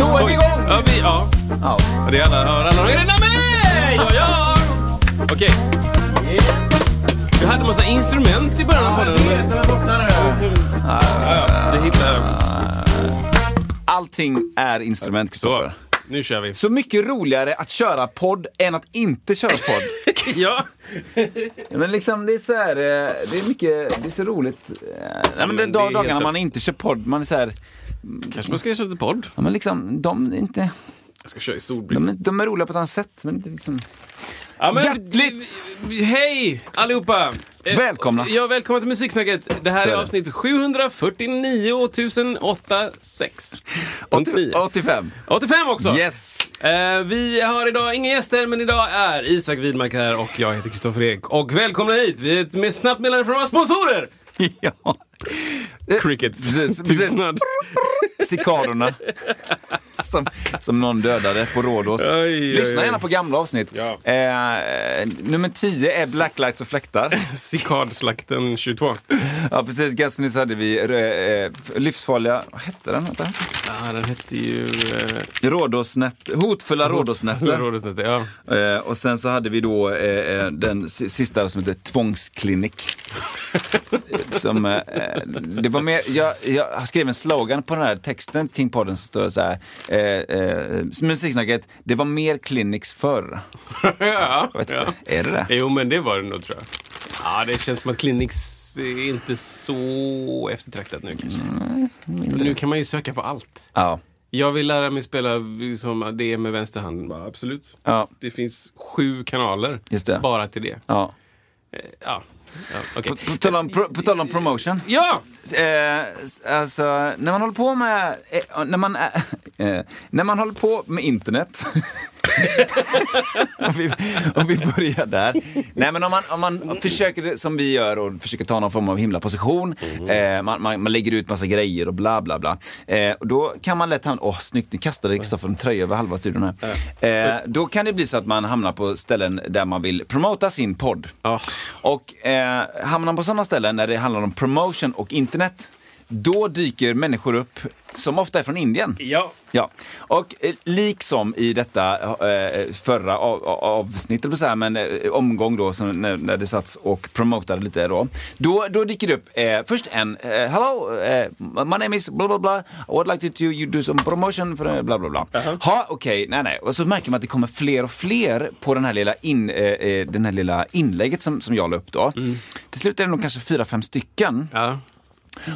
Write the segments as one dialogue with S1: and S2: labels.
S1: Då är vi igång! Ja, vi, ja. ja. Det är alla hör, alla hör. Är det namn? Ja, ja! Okej. Du hade massa instrument i början av podden. Ja, ja, det hittar jag.
S2: Allting är instrument,
S1: Så,
S2: Kristoffer.
S1: nu kör vi.
S2: Så mycket roligare att köra podd än att inte köra podd.
S1: Ja,
S2: men liksom det är så här, eh, det är mycket, det är så roligt. eh, Nej, men de
S1: men det är
S2: dag- dagarna
S1: helt-
S2: man inte kör podd, man är så här,
S1: kanske man ska köra lite podd.
S2: ja men liksom de är inte,
S1: Jag ska köra i
S2: de
S1: solbrillor.
S2: är, de är roliga på ett annat sätt. Men det är liksom,
S1: Ja, men-
S2: Hjärtligt!
S1: Hej allihopa! Eh,
S2: Välkomna.
S1: Ja, välkomna till Musiksnacket. Det här
S2: Så
S1: är
S2: är det.
S1: avsnitt 749 086.
S2: 85.
S1: 85 också!
S2: Yes!
S1: Eh, vi har idag inga gäster, men idag är Isak Widmark här och jag heter Kristoffer Ek. Och välkomna hit! Vi är ett med snabbt meddelande från våra sponsorer!
S2: ja. Eh,
S1: Crickets
S2: Precis, precis.
S1: tystnad.
S2: Cikadorna. som, som någon dödade på Rhodos.
S1: Oj, oj,
S2: Lyssna
S1: oj.
S2: gärna på gamla avsnitt.
S1: Ja.
S2: Eh, nummer 10 är Blacklights och fläktar.
S1: Cikadslakten 22.
S2: Ja precis, ganska nyss hade vi rö- eh, livsfarliga, vad hette den? Vänta.
S1: Ja, den hette ju... Eh,
S2: Rådåsnät, hotfulla rådåsnätter.
S1: Rådhusnätter, ja.
S2: Eh, och sen så hade vi då eh, eh, den si- sista som hette tvångsklinik. som, eh, eh, det var mer, jag, jag skrev en slogan på den här texten kring podden som står så här. Eh, eh, musiksnacket, det var mer clinics förr.
S1: ja.
S2: Jag vet
S1: ja.
S2: inte, är det det?
S1: Jo, men det var det nog tror jag. Ja, det känns som att Clinics är inte så eftertraktat nu kanske. nu kan man ju söka på allt.
S2: Ja.
S1: Jag vill lära mig spela liksom, det med vänster hand. Bara, absolut.
S2: Ja.
S1: Det finns sju kanaler
S2: Just det.
S1: bara till det. Eh,
S2: ja.
S1: Ja, ja okej.
S2: På, på, tal om, pro, på tal om promotion.
S1: Ja!
S2: Eh, s- alltså, när man håller på med, eh, när man, är- eh, när man håller på med internet. om, vi, om vi börjar där. Nej men om man, om man försöker, det som vi gör, och försöker ta någon form av himla position. Eh, man, man, man lägger ut massa grejer och bla bla bla. Eh, och då kan man lätt hamna, åh snyggt, nu kastade Kristoffer en tröja över halva studion här. Eh, då kan det bli så att man hamnar på ställen där man vill promota sin podd.
S1: Ja.
S2: Och eh, hamnar man på sådana ställen när det handlar om promotion och internet, då dyker människor upp som ofta är från Indien.
S1: Ja.
S2: Ja, och eh, liksom i detta eh, förra av, av- avsnitt, eller så här, men eh, omgång då, som, när, när det satts och promotade lite då. Då, då dyker det upp eh, först en, eh, hello, eh, my name is bla bla bla, I would like to do, you do some promotion för eh, bla bla bla. Ha, okej, nej nej. Och så märker man att det kommer fler och fler på den här lilla, in, eh, eh, den här lilla inlägget som, som jag la upp då. Till slut är det nog kanske fyra, fem stycken.
S1: ja.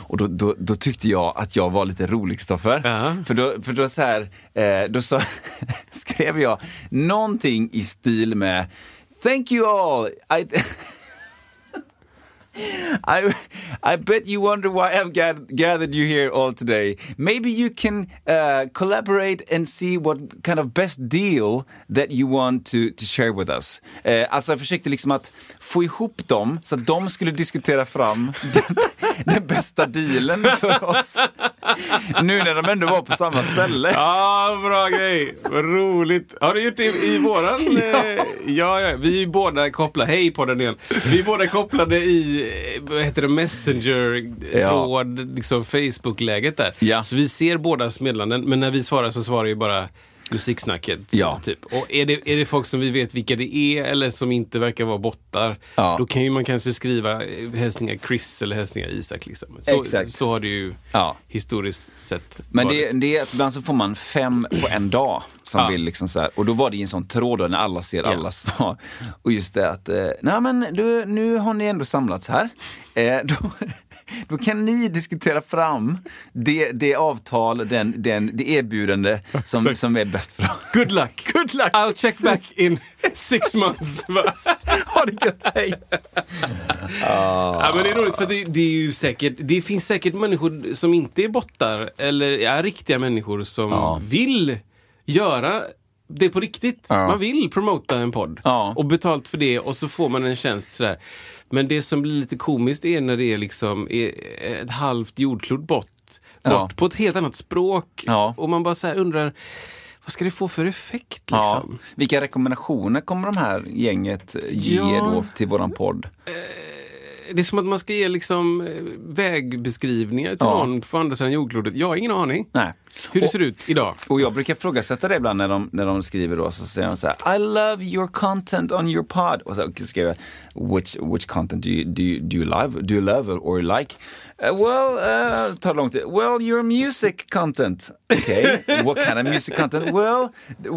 S2: Och då, då, då tyckte jag att jag var lite rolig Kristoffer.
S1: Ja.
S2: För då, för då, så här, eh, då så skrev jag någonting i stil med Thank you all! I, I, I bet you wonder why I've gath- gathered you here all today. Maybe you can uh, collaborate and see what kind of best deal that you want to, to share with us. Eh, alltså jag försökte liksom att få ihop dem så att de skulle diskutera fram den, den bästa dealen för oss. Nu när de ändå var på samma ställe.
S1: Ja, bra grej! Vad roligt! Har du gjort det i, i våran... eh, Ja, ja, vi är ju båda kopplade, hej på den igen. Vi är båda kopplade i, eh, vad heter det, Messenger, eh,
S2: Ja.
S1: tråd, liksom Facebook-läget där.
S2: Ja.
S1: Så vi ser bådas meddelanden, men när vi svarar så svarar ju bara musiksnacket.
S2: Ja.
S1: Typ. Och är det, är det folk som vi vet vilka det är eller som inte verkar vara bottar,
S2: Ja.
S1: då kan ju man kanske skriva eh, hälsningar Chris eller hälsningar Isak. Liksom. Så,
S2: Exakt.
S1: så har det ju
S2: Ja.
S1: historiskt sett
S2: Men
S1: varit.
S2: det, det är att ibland så får man fem på en dag. Som
S1: Ja.
S2: vill liksom så här, och då var det i en sån tråd då, när alla ser alla svar. Och just det att, eh, nej men du, nu har ni ändå samlats här. Eh, då, då kan ni diskutera fram det, det avtal, den, den, det erbjudande som,
S1: Exakt.
S2: som är bäst
S1: bäst för dem. Good luck!
S2: Good luck.
S1: I'll check back in six months. Va?
S2: Ha det gött, hej!
S1: Ja, men det är roligt för det, det, är ju säkert, det finns säkert människor som inte är bottar eller är riktiga människor som
S2: Ja.
S1: vill göra det på riktigt.
S2: Ja.
S1: Man vill promota en podd
S2: Ja.
S1: och betalt för det och så får man en tjänst sådär. Men det som blir lite komiskt är när det är liksom är ett halvt jordklot bort, bort
S2: Ja.
S1: på ett helt annat språk
S2: Ja.
S1: och man bara så här undrar vad ska det få för effekt
S2: Ja.
S1: liksom?
S2: Vilka rekommendationer kommer de här gänget ge
S1: Ja.
S2: då till våran podd?
S1: Det är som att man ska ge liksom eh, vägbeskrivningar till
S2: Ja.
S1: någon på andra sidan jordklotet. Jag har ingen aning.
S2: Nej.
S1: Hur det
S2: Och-
S1: ser ut idag.
S2: Och jag brukar frågasätta det ibland när de, när de skriver då, så säger de så här I love your content on your pod. Och så skriver jag, which, which content do you, do you, do you, love, do you love or like? "Uh, well, uh, tar lång tid. Well, your music content. Okay, what kind of music content? Well,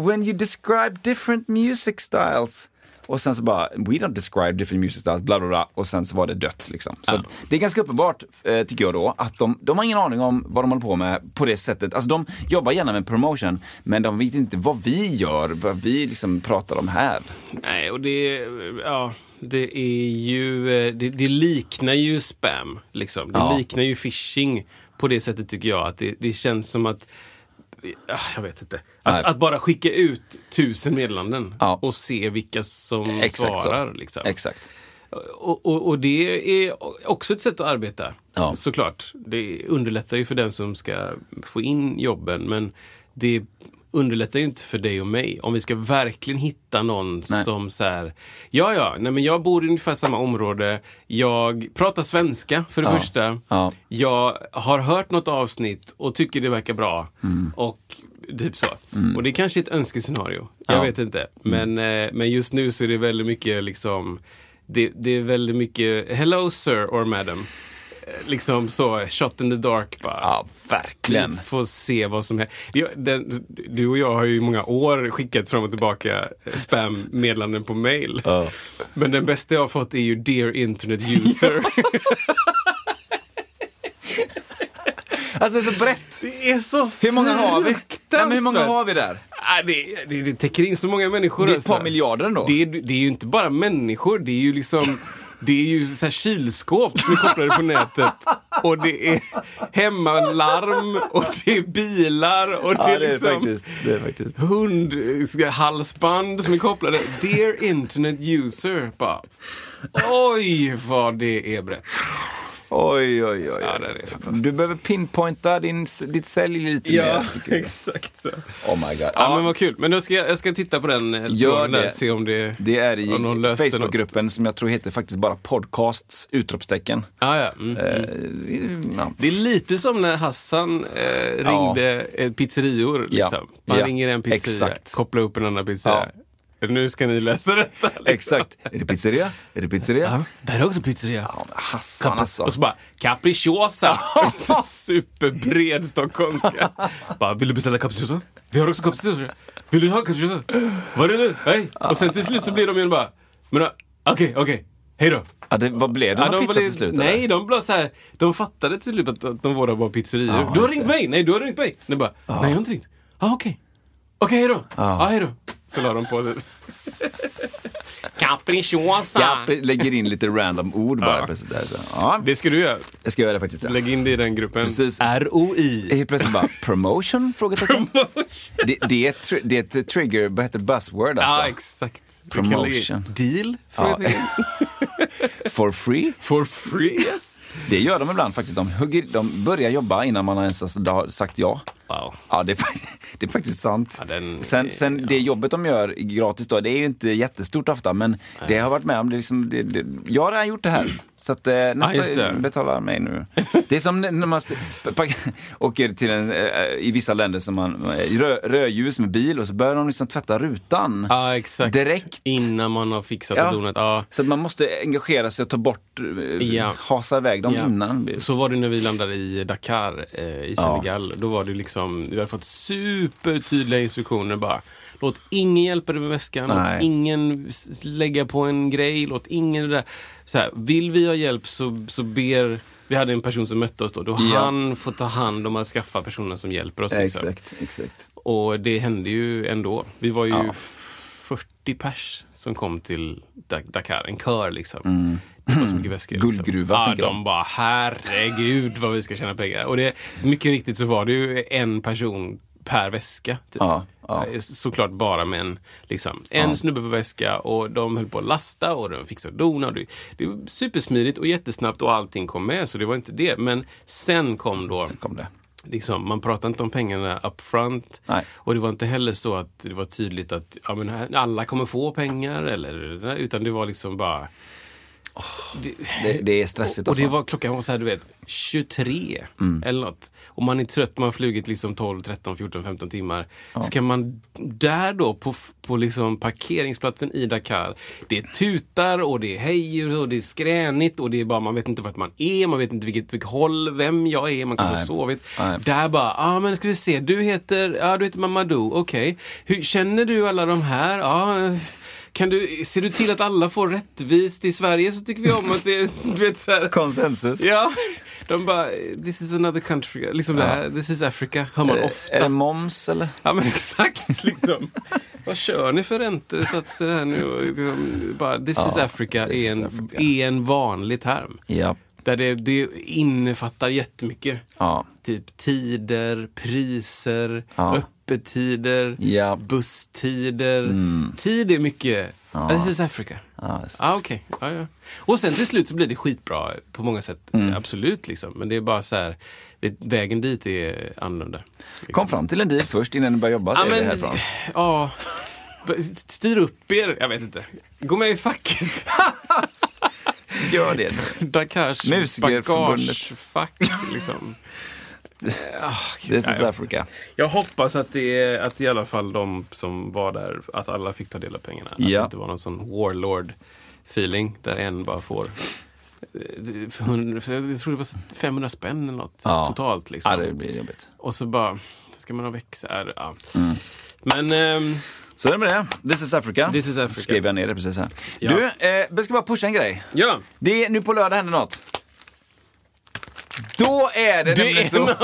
S2: when you describe different music styles. Och sen så bara, we don't describe different music styles, bla bla bla. Och sen så var det dött liksom. Så att det är ganska uppenbart, eh, tycker jag då, att de, de har ingen aning om vad de håller på med på det sättet. Alltså de jobbar gärna med promotion, men de vet inte vad vi gör, vad vi liksom pratar om här.
S1: Nej, och det, ja, det är ju, eh, det, det liknar ju spam. Liksom. Det
S2: Ja.
S1: liknar ju phishing på det sättet tycker jag. Att det, det känns som att, ah, jag vet inte. Att,
S2: Nej.
S1: att bara skicka ut tusen meddelanden
S2: Ja.
S1: och se vilka som
S2: så.
S1: Mm, svarar. Liksom.
S2: Exakt.
S1: Och, och, och det är också ett sätt att arbeta.
S2: Ja.
S1: Såklart. Det underlättar ju för den som ska få in jobben men det underlättar ju inte för dig och mig. Om vi ska verkligen hitta någon
S2: Nej.
S1: som så här, ja ja, nej men jag bor i ungefär samma område, jag pratar svenska för det
S2: Ja.
S1: första,
S2: Ja.
S1: jag har hört något avsnitt och tycker det verkar bra.
S2: Mm.
S1: Och Typ så. Och det är kanske är ett önskescenario. Jag
S2: Ja. Mm.
S1: vet inte. Men, eh, men just nu så är det väldigt mycket liksom det, det är väldigt mycket hello sir or madam. Eh, Liksom så, shot in the dark bara.
S2: Ja, verkligen.
S1: Vi får se vad som händer. Jag- den- Du och jag har ju i många år skickat fram och tillbaka eh, spam-meddelanden på mail. Men den bästa jag har fått är ju Dear Internet User.
S2: Alltså det är så brett.
S1: det är så
S2: Hur många har vi? Nej, men hur många
S1: fruktansvärt.
S2: har vi där?
S1: Ah, det, det, det täcker in så många människor.
S2: Det är ett
S1: alltså.
S2: par miljarder ändå.
S1: Det är, det är ju inte bara människor, det är ju liksom det är ju så här kylskåp som är kopplade på nätet. Och det är hemmalarm och det är bilar och det är, liksom
S2: det är faktiskt.
S1: hundhalsband som är kopplade. Dear internet user. Bara, oj vad det är brett.
S2: Oj, oj, oj.
S1: Ja, det är fantastiskt.
S2: du behöver pinpointa din, ditt sälj lite mer. tycker jag.
S1: exakt så.
S2: Oh my god.
S1: Ja, men vad kul. Men då ska jag, jag ska titta på den eh,
S2: Gör
S1: tråden där,
S2: det.
S1: se om det,
S2: Det är
S1: om någon
S2: i
S1: löste något.
S2: Facebookgruppen som jag tror heter faktiskt bara podcasts utropstecken.
S1: Ah, ja. mm.
S2: Eh, ja.
S1: Det är lite som när Hassan eh, ringde eh, pizzerior.
S2: Ja.
S1: Liksom. Man
S2: Ja.
S1: ringer en pizzeria,
S2: Exakt.
S1: kopplar upp en annan pizzeria. Nu ska ni läsa detta. Liksom.
S2: Exakt. Är det pizzeria? Är det pizzeria?
S1: Där är också pizzeria.
S2: Ja, men Hassan alltså.
S1: Och så bara capricciosa. Så Superbred stockholmska. Bara, vill du beställa capricciosa? Vi har också capricciosa. Vill du ha capricciosa? Vad är det nu? Nej. Och sen till slut så blir de ju bara, men okej, okej, hej då.
S2: Ja, det, vad blev det?
S1: Ja,
S2: Någon
S1: de
S2: pizza
S1: blev-
S2: till slut? eller?
S1: Nej, de blev så här, de fattade till slut att, att de båda var pizzerior.
S2: Ja,
S1: du har
S2: just
S1: ringt
S2: det.
S1: mig! Nej, du har ringt mig! De bara, nej jag har inte ringt. Ja, ah, okej. Okej, hejdå. Ja, ah. hejdå. Så la de på det. Capricciosa!
S2: Ja, pre- lägger in lite random ord bara.
S1: Ja.
S2: Precis där, så. Ja,
S1: Det ska du göra.
S2: jag ska göra det faktiskt.
S1: Lägg in det i den gruppen.
S2: Precis.
S1: ROI.
S2: Helt plötsligt bara promotion? Frågetecken. Det, det, är ett tr- det är ett trigger, vad heter det? buzzword
S1: Ja,
S2: alltså?
S1: exakt. Du kan lägga-
S2: Promotion.
S1: Deal?
S2: Ja.
S1: Frågetecken.
S2: For free?
S1: For free? Yes.
S2: Det gör de ibland faktiskt. De, hugger, de börjar jobba innan man ens har sagt ja.
S1: Wow.
S2: Ja, det är, fak- det är faktiskt sant.
S1: Ja, den-
S2: sen sen
S1: ja.
S2: det jobbet de gör gratis då, det är ju inte jättestort ofta, men det har varit med om. Det är liksom, det, det, jag har redan gjort det här, så att, eh, nästa
S1: just det.
S2: betalar mig nu. Det är som när man st- pack- åker till en, eh, i vissa länder som man, eh, rö, rödljus med bil och så börjar de liksom tvätta rutan.
S1: Ja, exakt.
S2: Direkt.
S1: Innan man har fixat och donat. Ja.
S2: Så att man måste engagera sig och ta bort, eh,
S1: Ja.
S2: hasa iväg dem
S1: Ja.
S2: innan.
S1: Så var det när vi landade i Dakar eh, i Senegal. Då var det liksom, vi hade fått supertydliga instruktioner bara. Låt ingen hjälpa dig med väskan, låt
S2: Nej.
S1: ingen s- lägga på en grej, låt ingen det där. Så här, vill vi ha hjälp så, så ber vi vi hade en person som mötte oss då. då
S2: Ja.
S1: Han får ta hand om att skaffa personer som hjälper oss. liksom.
S2: Exakt, exakt.
S1: Och det hände ju ändå. Vi var ju
S2: Ja.
S1: 40 pers som kom till Da- Dakar, en kör liksom. Det var så mycket väskor.
S2: Mm. Guldgruva,
S1: liksom.
S2: tänker
S1: ja,
S2: de.
S1: de bara herregud vad vi ska tjäna pengar. Och det, mycket riktigt så var det ju en person per väska. Typ.
S2: Ja, ja.
S1: Såklart bara män. Liksom. En snubbe per väska och de höll på att lasta och de fixade och donade. Och Det, det var supersmidigt och jättesnabbt och allting kom med så det var inte det. Men sen kom då
S2: Sen kom det.
S1: liksom, man pratade inte om pengarna up front.
S2: Nej.
S1: Och det var inte heller så att det var tydligt att ja, men här- alla kommer få pengar. Eller, utan det var liksom bara...
S2: Det, det Mm. är stressigt
S1: Och, och
S2: alltså.
S1: det var klockan var så här, du vet, 23 eller något. Och man är trött, man har flugit liksom 12, 13, 14, 15 timmar. Ska man där då på, f- på liksom parkeringsplatsen i Dakar. Det tutar och det är hej och det är skränigt och det är bara man vet inte vart man är, man vet inte vilket, vilket håll, vem jag är, man kanske har
S2: Nej.
S1: sovit.
S2: Nej.
S1: Där bara, ja ah, men ska vi se, du heter, ja du heter Mamadou, okej. Hur Känner du alla de här? Ja, eh, kan du, ser du till att alla får rättvist? I Sverige så tycker vi om att det är, du vet så här,
S2: konsensus.
S1: Ja, de bara, this is another country, liksom det här, this is Africa, hör man
S2: Är-
S1: ofta.
S2: Är det moms eller?
S1: Ja men exakt, liksom. Vad kör ni för räntesatser här nu? Och liksom, Bara, this is Africa
S2: this
S1: är
S2: is
S1: en,
S2: Africa.
S1: är en vanlig term.
S2: Ja.
S1: Där det, det innefattar jättemycket.
S2: Ja.
S1: Typ tider, priser,
S2: Ja.
S1: öppettider,
S2: Ja. Mm.
S1: busstider. Tid är mycket. This is Africa.
S2: Ja, det är så.
S1: Ah, okej. ja, ja. Och sen till slut så blir det skitbra på många sätt.
S2: Mm.
S1: Absolut liksom. Men det är bara så här, det, vägen dit är annorlunda.
S2: Kom fram till en deal först innan du börjar jobba.
S1: Ja,
S2: säger vi
S1: men,
S2: härifrån.
S1: ja. B- Styr upp er. Jag vet inte. Gå med i facket.
S2: Gör det.
S1: Dakars
S2: Musikerförbundet.
S1: bagagefack. Liksom.
S2: This is Africa.
S1: Jag hoppas att det är att i alla fall de som var där, att alla fick ta del av pengarna. Att
S2: Ja.
S1: det inte var någon sån warlord-feeling där en bara får eh, för hundra- för jag tror det var 500 spänn eller något
S2: Ja.
S1: totalt. Liksom.
S2: Ja, det blir jobbigt.
S1: Och så bara, så ska man ha växa. är det- Ja.
S2: Mm.
S1: Men ehm,
S2: Så är det med det. This is Africa.
S1: This is Africa.
S2: Skrev jag ner det precis här.
S1: Ja.
S2: Du, eh, jag ska bara pusha en grej.
S1: ja,
S2: Det är, nu på lördag händer något. Då är det, nämligen
S1: är
S2: så att...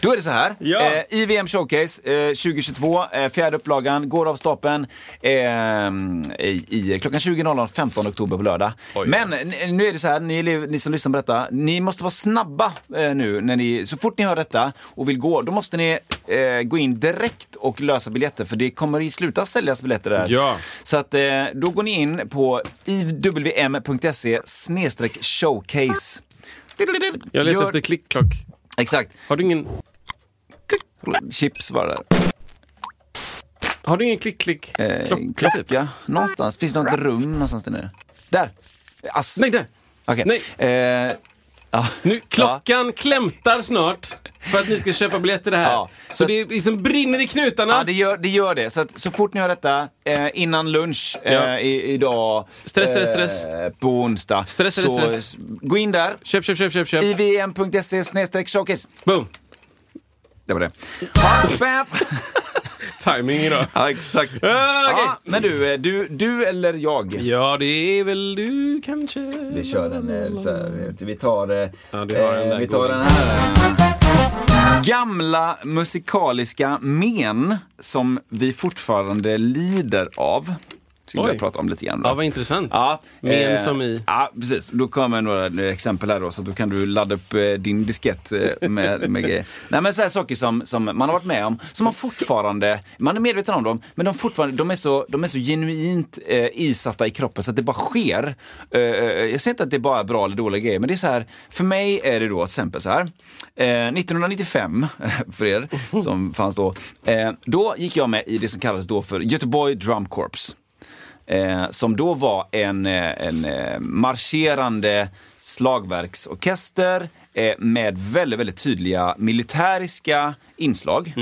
S2: Då är det så här.
S1: Ja.
S2: Eh, I VM Showcase eh, 2022, eh, fjärde upplagan, går av stapeln eh, i, i klockan 20.00 15 oktober på lördag.
S1: Oj.
S2: Men n- nu är det så här, ni, elev- ni som lyssnar på detta, ni måste vara snabba eh, nu. När ni, så fort ni hör detta och vill gå, då måste ni eh, gå in direkt och lösa biljetter för det kommer i sluta säljas biljetter där.
S1: Ja.
S2: Så att eh, då går ni in på iwm.se snedstreck showcase.
S1: jag letar
S2: Gör-
S1: efter klick-klock.
S2: Exakt.
S1: Har du ingen,
S2: Chips Eh, var det.
S1: har du ingen klick-klick?
S2: Eh,
S1: klock- typ?
S2: klocka. Någonstans. Finns det något rum någonstans där nere? Där! Ass.
S1: Nej, där!
S2: Okej.
S1: nej.
S2: Eh, ja.
S1: Nu, klockan klämtar snart för att ni ska köpa biljetter det här.
S2: Ja,
S1: så
S2: så att-
S1: det liksom brinner i knutarna.
S2: Ja, det gör det. Gör det. Så, att, så fort ni hör detta, eh, innan lunch eh,
S1: Ja.
S2: i, idag.
S1: Stress, stress, stress.
S2: Eh, på onsdag.
S1: Stress, stress,
S2: så,
S1: stress.
S2: Gå in där.
S1: Köp, köp, köp, köp, köp.
S2: ivm.se snedstreck showcase.
S1: Boom!
S2: Det var det. Ha, svamp.
S1: Timing idag.
S2: Ja, exakt.
S1: Ah, okej.
S2: Ja, men du, eh, du, du eller jag?
S1: Ja, det är väl du kanske?
S2: Vi kör en eh, så här, vi tar, eh,
S1: Ja, du har den där
S2: eh, vi tar
S1: goda.
S2: den här. Gamla musikaliska men som vi fortfarande lider av. Skulle
S1: Oj.
S2: jag prata om lite grann. då.
S1: Ja, vad intressant.
S2: Ja,
S1: Men
S2: eh,
S1: som i...
S2: Ja, precis. Då kommer några eh, exempel här då, så då kan du ladda upp eh, din diskett eh, med, med grejer. Nej men så här saker som, som man har varit med om, som man fortfarande, man är medveten om dem, men de, fortfarande, de, är, så, de är så genuint eh, isatta i kroppen så att det bara sker. Eh, eh, jag säger inte att det är bara bra eller dåliga grejer, men det är så här, för mig är det då till exempel så här, eh, 1995, för er som fanns då, eh, då gick jag med i det som kallades då för Göteborg Drum Corps. Eh, som då var en, eh, en eh, marscherande slagverksorkester eh, med väldigt, väldigt tydliga militäriska inslag.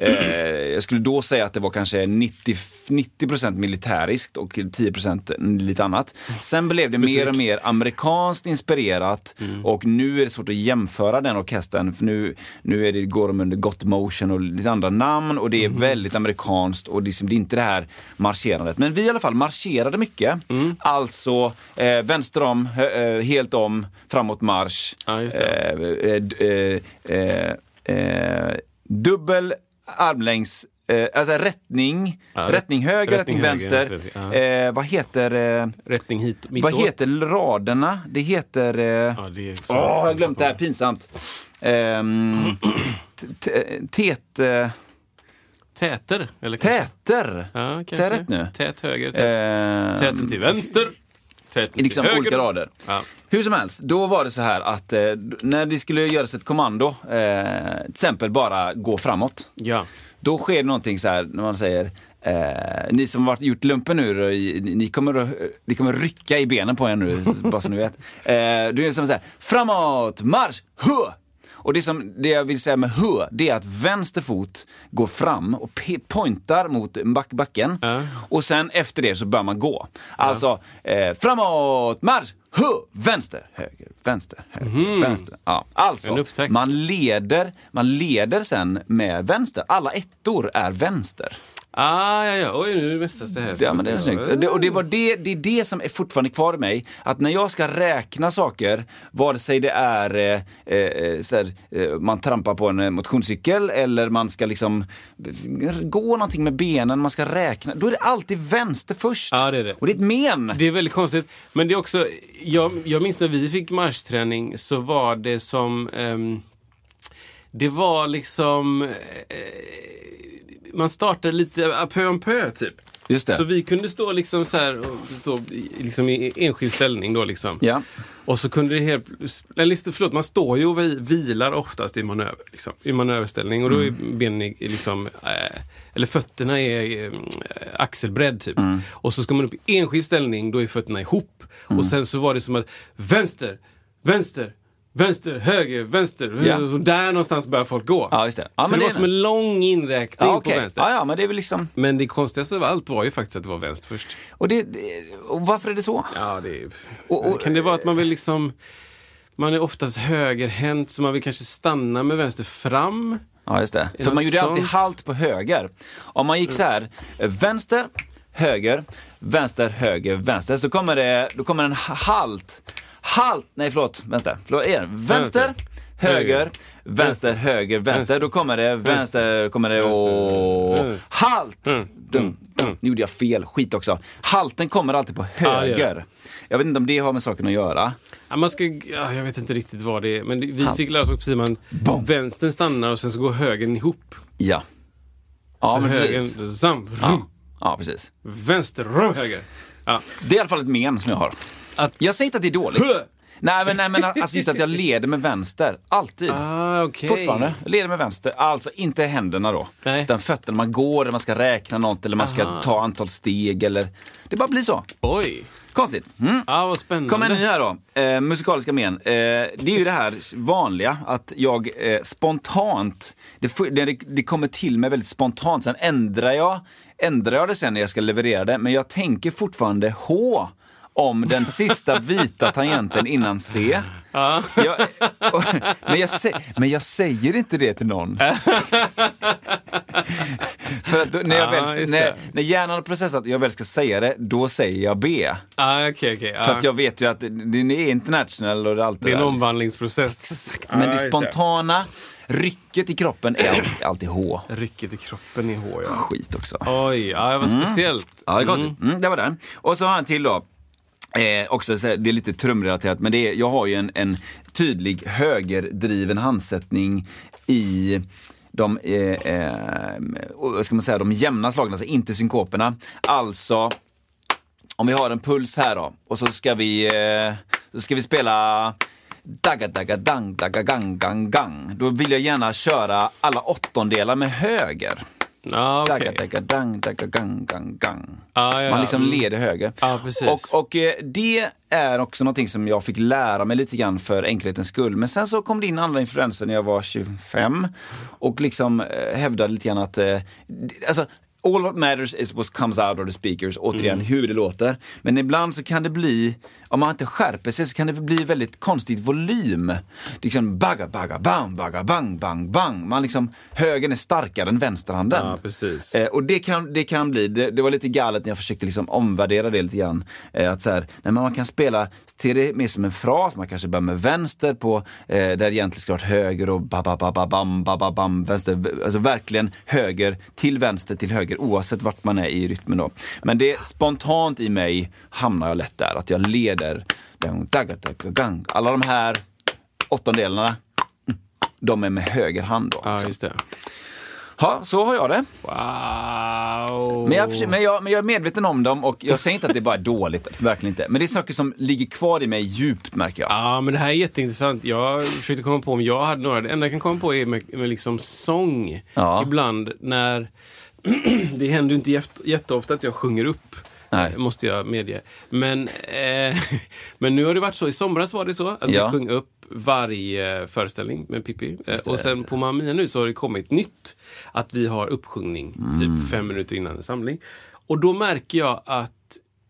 S2: Eh, jag skulle då säga att det var kanske 90, 90 militäriskt och 10 lite annat. Sen blev det mer och mer amerikanskt inspirerat
S1: Mm.
S2: och nu är det svårt att jämföra den orkestern. För nu nu är det, går de under Got Motion och lite andra namn och det
S1: Mm.
S2: är väldigt amerikanskt och det är liksom- det är inte det här marscherandet. Men vi i alla fall marscherade mycket.
S1: Mm.
S2: Alltså eh, vänster om, hö- eh, helt om, framåt marsch.
S1: Ja, just det.
S2: Eh, eh, d- eh, eh, eh, dubbel armlängds, eh, alltså rättning,
S1: Ja,
S2: rättning höger,
S1: rättning
S2: rättning,
S1: höger,
S2: vänster.
S1: rättning vänster,
S2: eh, vad heter, eh,
S1: Rättning hit, mittåt.
S2: vad heter raderna? Det heter... Eh,
S1: Ja, det är...
S2: Åh, jag har glömt det här, pinsamt. Ehm, t- t- tete-
S1: Täter? Eller kanske-
S2: Täter.
S1: Ja, kanske.
S2: Säger jag rätt nu?
S1: Tät höger, tät,
S2: Ehm,
S1: täten till vänster. Täten till
S2: Liksom
S1: höger.
S2: olika rader.
S1: Ja.
S2: Hur som helst, då var det så här att eh, när det skulle göras ett kommando, eh, till exempel bara gå framåt.
S1: Ja.
S2: Då sker det någonting så här när man säger Eh, ni som har varit- gjort lumpen nu, då, i- ni, ni, kommer att, ni kommer att rycka i benen på er nu, bara så ni vet. Eh, det är som så här, framåt, marsch, hö! Och det, som, det jag vill säga med hö, det är att vänster fot går fram och pe- pointar mot back, backen. Och sen efter det så börjar man gå. Alltså, eh, framåt, marsch, hö! Vänster, höger, vänster, höger, vänster. Ja.
S1: Mhm. En
S2: Alltså,
S1: upptäckt.
S2: man leder, man leder sen med vänster. Alla ettor är vänster.
S1: Ah, ja, ja. Oj, nu mästas det här.
S2: Ja, men det är snyggt. Och Det, och det, var det, det är det som är fortfarande kvar i mig. Att när jag ska räkna saker, vare sig det är eh, eh, så här, eh, man trampar på en eh, motionscykel eller man ska liksom eh, gå någonting med benen, man ska räkna. Då är det alltid vänster först.
S1: Ja, det är det.
S2: Och det är ett men.
S1: Det är väldigt konstigt. Men det är också, jag, jag minns när vi fick marschträning så var det som... ehm, det var liksom... eh, man startade lite à peu en peu, typ.
S2: Just det.
S1: Så vi kunde stå liksom så här, och stå i- liksom i enskild ställning då liksom.
S2: Ja.
S1: Och så kunde det helt... Eller, just- förlåt, man står ju och vi- vilar oftast i manöver. Liksom, I manöverställning. Och då är
S2: Mm.
S1: benen i- i liksom... Eh, eller fötterna är eh, axelbredd typ.
S2: Mm.
S1: Och så ska man upp i enskild ställning, då är fötterna ihop.
S2: Mm.
S1: Och sen så var det som att vänster, vänster, vänster, höger, vänster.
S2: Ja.
S1: Så där någonstans börjar folk gå.
S2: Ja, just det. Ja,
S1: så
S2: men
S1: det
S2: det
S1: var
S2: är
S1: som
S2: det.
S1: en lång inräkning
S2: Ja, okej.
S1: på vänster.
S2: ja, ja, men det är väl liksom...
S1: Men det konstigaste av allt var ju faktiskt att det var vänster först.
S2: Och, det, det- och varför är det så?
S1: Ja, det är...
S2: Och- och-
S1: kan det vara att man vill liksom... Man är oftast högerhänt, så man vill kanske stanna med vänster fram.
S2: Ja, just det. För
S1: något
S2: man gjorde alltid
S1: sånt?
S2: halt på höger. Om man gick så här, eh, vänster, höger, vänster, höger, vänster. Så kommer det, då kommer en ha- halt. Halt! Nej, förlåt. Vänster. Förlåt, igen. Vänster, höger, vänster, höger, vänster. Då kommer det vänster, kommer det och
S1: Vänster. Mm.
S2: halt! Dum, dum. Nu gjorde jag fel. Skit också. Halten kommer alltid på
S1: gör det.
S2: höger. Jag vet inte om det har med saken att göra.
S1: Ja, man ska, ja, jag vet inte riktigt vad det är, men det- vi fick lära oss också precis man
S2: Bom.
S1: vänstern stannar och sen så går högern ihop.
S2: Ja. Ja,
S1: så
S2: men precis.
S1: högern, sam, rum,
S2: Ja, precis.
S1: vänster, rum, höger. Ja.
S2: Det är i alla fall ett men som jag har.
S1: Att-
S2: Jag säger inte att det är dåligt.
S1: Hö!
S2: Nej men, nej men alltså just att jag leder med vänster, alltid.
S1: Ah, okej.
S2: Fortfarande, jag leder med vänster. Alltså inte händerna då.
S1: Nej.
S2: Utan fötterna, man går eller man ska räkna något eller man ska ta antal steg eller... Det bara blir så.
S1: Oj!
S2: Konstigt. Mm.
S1: Ja, vad spännande.
S2: Kom en ny här då. Eh, musikaliska men. Eh, det är ju det här vanliga att jag eh, spontant, det, får- det, det kommer till mig väldigt spontant. Sen ändrar jag, ändrar jag det sen när jag ska leverera det, men jag tänker fortfarande H om den sista vita tangenten innan C. Jag, och, men, jag sä, men jag säger inte det till någon. För att då, när, jag
S1: Ah,
S2: väl,
S1: just
S2: när,
S1: det.
S2: när hjärnan har processat och jag väl ska säga det, då säger jag B.
S1: Ah, okej, okej.
S2: För
S1: ja.
S2: att jag vet ju att den är international och allt det
S1: Det är en
S2: där. liksom.
S1: omvandlingsprocess. Ah,
S2: Exakt, men det
S1: just
S2: spontana rycket i kroppen är alltid, alltid H.
S1: Rycket i kroppen i hår, ja.
S2: Skit också.
S1: Oj, ja, vad speciellt.
S2: Mm. Ja, det är konstigt. Mm, det var den. Och så har han till då. Eh, också, så här, det är lite trumrelaterat, men det är, jag har ju en, en tydlig högerdriven handsättning i de, eh, eh, vad ska man säga, de jämna slagen, alltså inte synkoperna. Alltså, om vi har en puls här då och så ska vi, eh, så ska vi spela Dagga dagga dang dagga gang gang gang. Då vill jag gärna köra alla åttondelar med höger.
S1: Ah, okej.
S2: Dagga, dagga, dang, dagga, gang, gang, gang.
S1: Ah, ja,
S2: Man
S1: ja.
S2: liksom
S1: Mm.
S2: leder höger.
S1: Ja, precis.
S2: och och eh, det är också någonting som jag fick lära mig lite grann för enkelhetens skull. Men sen så kom det in andra influenser när jag var 25 och liksom eh, hävdade lite grann att, eh, d- alltså, All what matters is what comes out of the speakers, återigen
S1: Mm.
S2: hur det låter. Men ibland så kan det bli, om man inte skärper sig, så kan det bli väldigt konstig volym. Liksom bagga, bagga, bang, bagga, bang, bang, bang. Man liksom, högern är starkare än vänsterhanden.
S1: Ja, precis.
S2: Eh, och det kan, det kan bli, det, det var lite galet när jag försökte liksom omvärdera det lite grann. Eh, att så här, nej, men man kan spela till det mer som en fras, man kanske börjar med vänster på, eh, där det egentligen ska vara höger och ba, ba, ba, ba, bam, ba, ba, bam, vänster. Alltså verkligen höger till vänster till höger oavsett vart man är i rytmen då. Men det spontant i mig hamnar jag lätt där, att jag leder. Dang, dagga, dagga, gang. Alla de här åttondelarna, mm, de är med höger hand då.
S1: Ja, just det.
S2: Ha, så har jag det.
S1: Wow!
S2: Men jag, försöker- men, jag, men jag är medveten om dem och jag säger inte att det bara är dåligt, verkligen inte. Men det är saker som ligger kvar i mig djupt märker jag.
S1: Ja, men det här är jätteintressant. Jag försökte komma på om jag hade några. Det enda jag kan komma på är med, med liksom sång.
S2: Ja.
S1: Ibland när... det händer ju inte jäft- jätteofta att jag sjunger upp.
S2: Nej.
S1: eh, Måste jag medge. Men, eh, men nu har det varit så. I somras var det så att
S2: Ja.
S1: jag sjöng upp varje föreställning med Pippi. Eh, och sen på Mamma Mia nu så har det kommit nytt. Att vi har uppsjungning
S2: Mm.
S1: typ fem minuter innan en samling. Och då märker jag att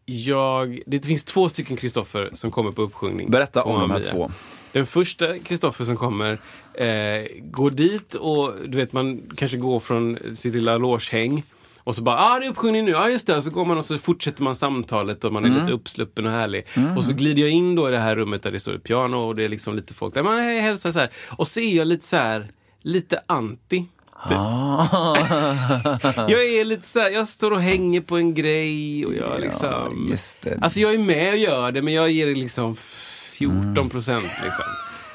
S1: jag, det finns två stycken Kristoffer som kommer på uppsjungning.
S2: Berätta
S1: på
S2: om de
S1: Mamma
S2: här
S1: Mia.
S2: två.
S1: Den första Kristoffer som kommer eh, går dit och du vet man kanske går från sitt lilla låshäng och så bara, ah det är uppsjungning nu, ja ah, just det. Och så går man och så fortsätter man samtalet och man
S2: Mm.
S1: är lite uppsluppen och härlig. Och så glider jag in då i det här rummet där det står ett piano och det är liksom lite folk där, man hej, hälsar så här. Och så är jag lite så här, lite anti. Typ. jag är lite så här, jag står och hänger på en grej och jag liksom...
S2: just det. Mm.
S1: Alltså jag är med och gör det men jag ger det liksom 14 procent liksom.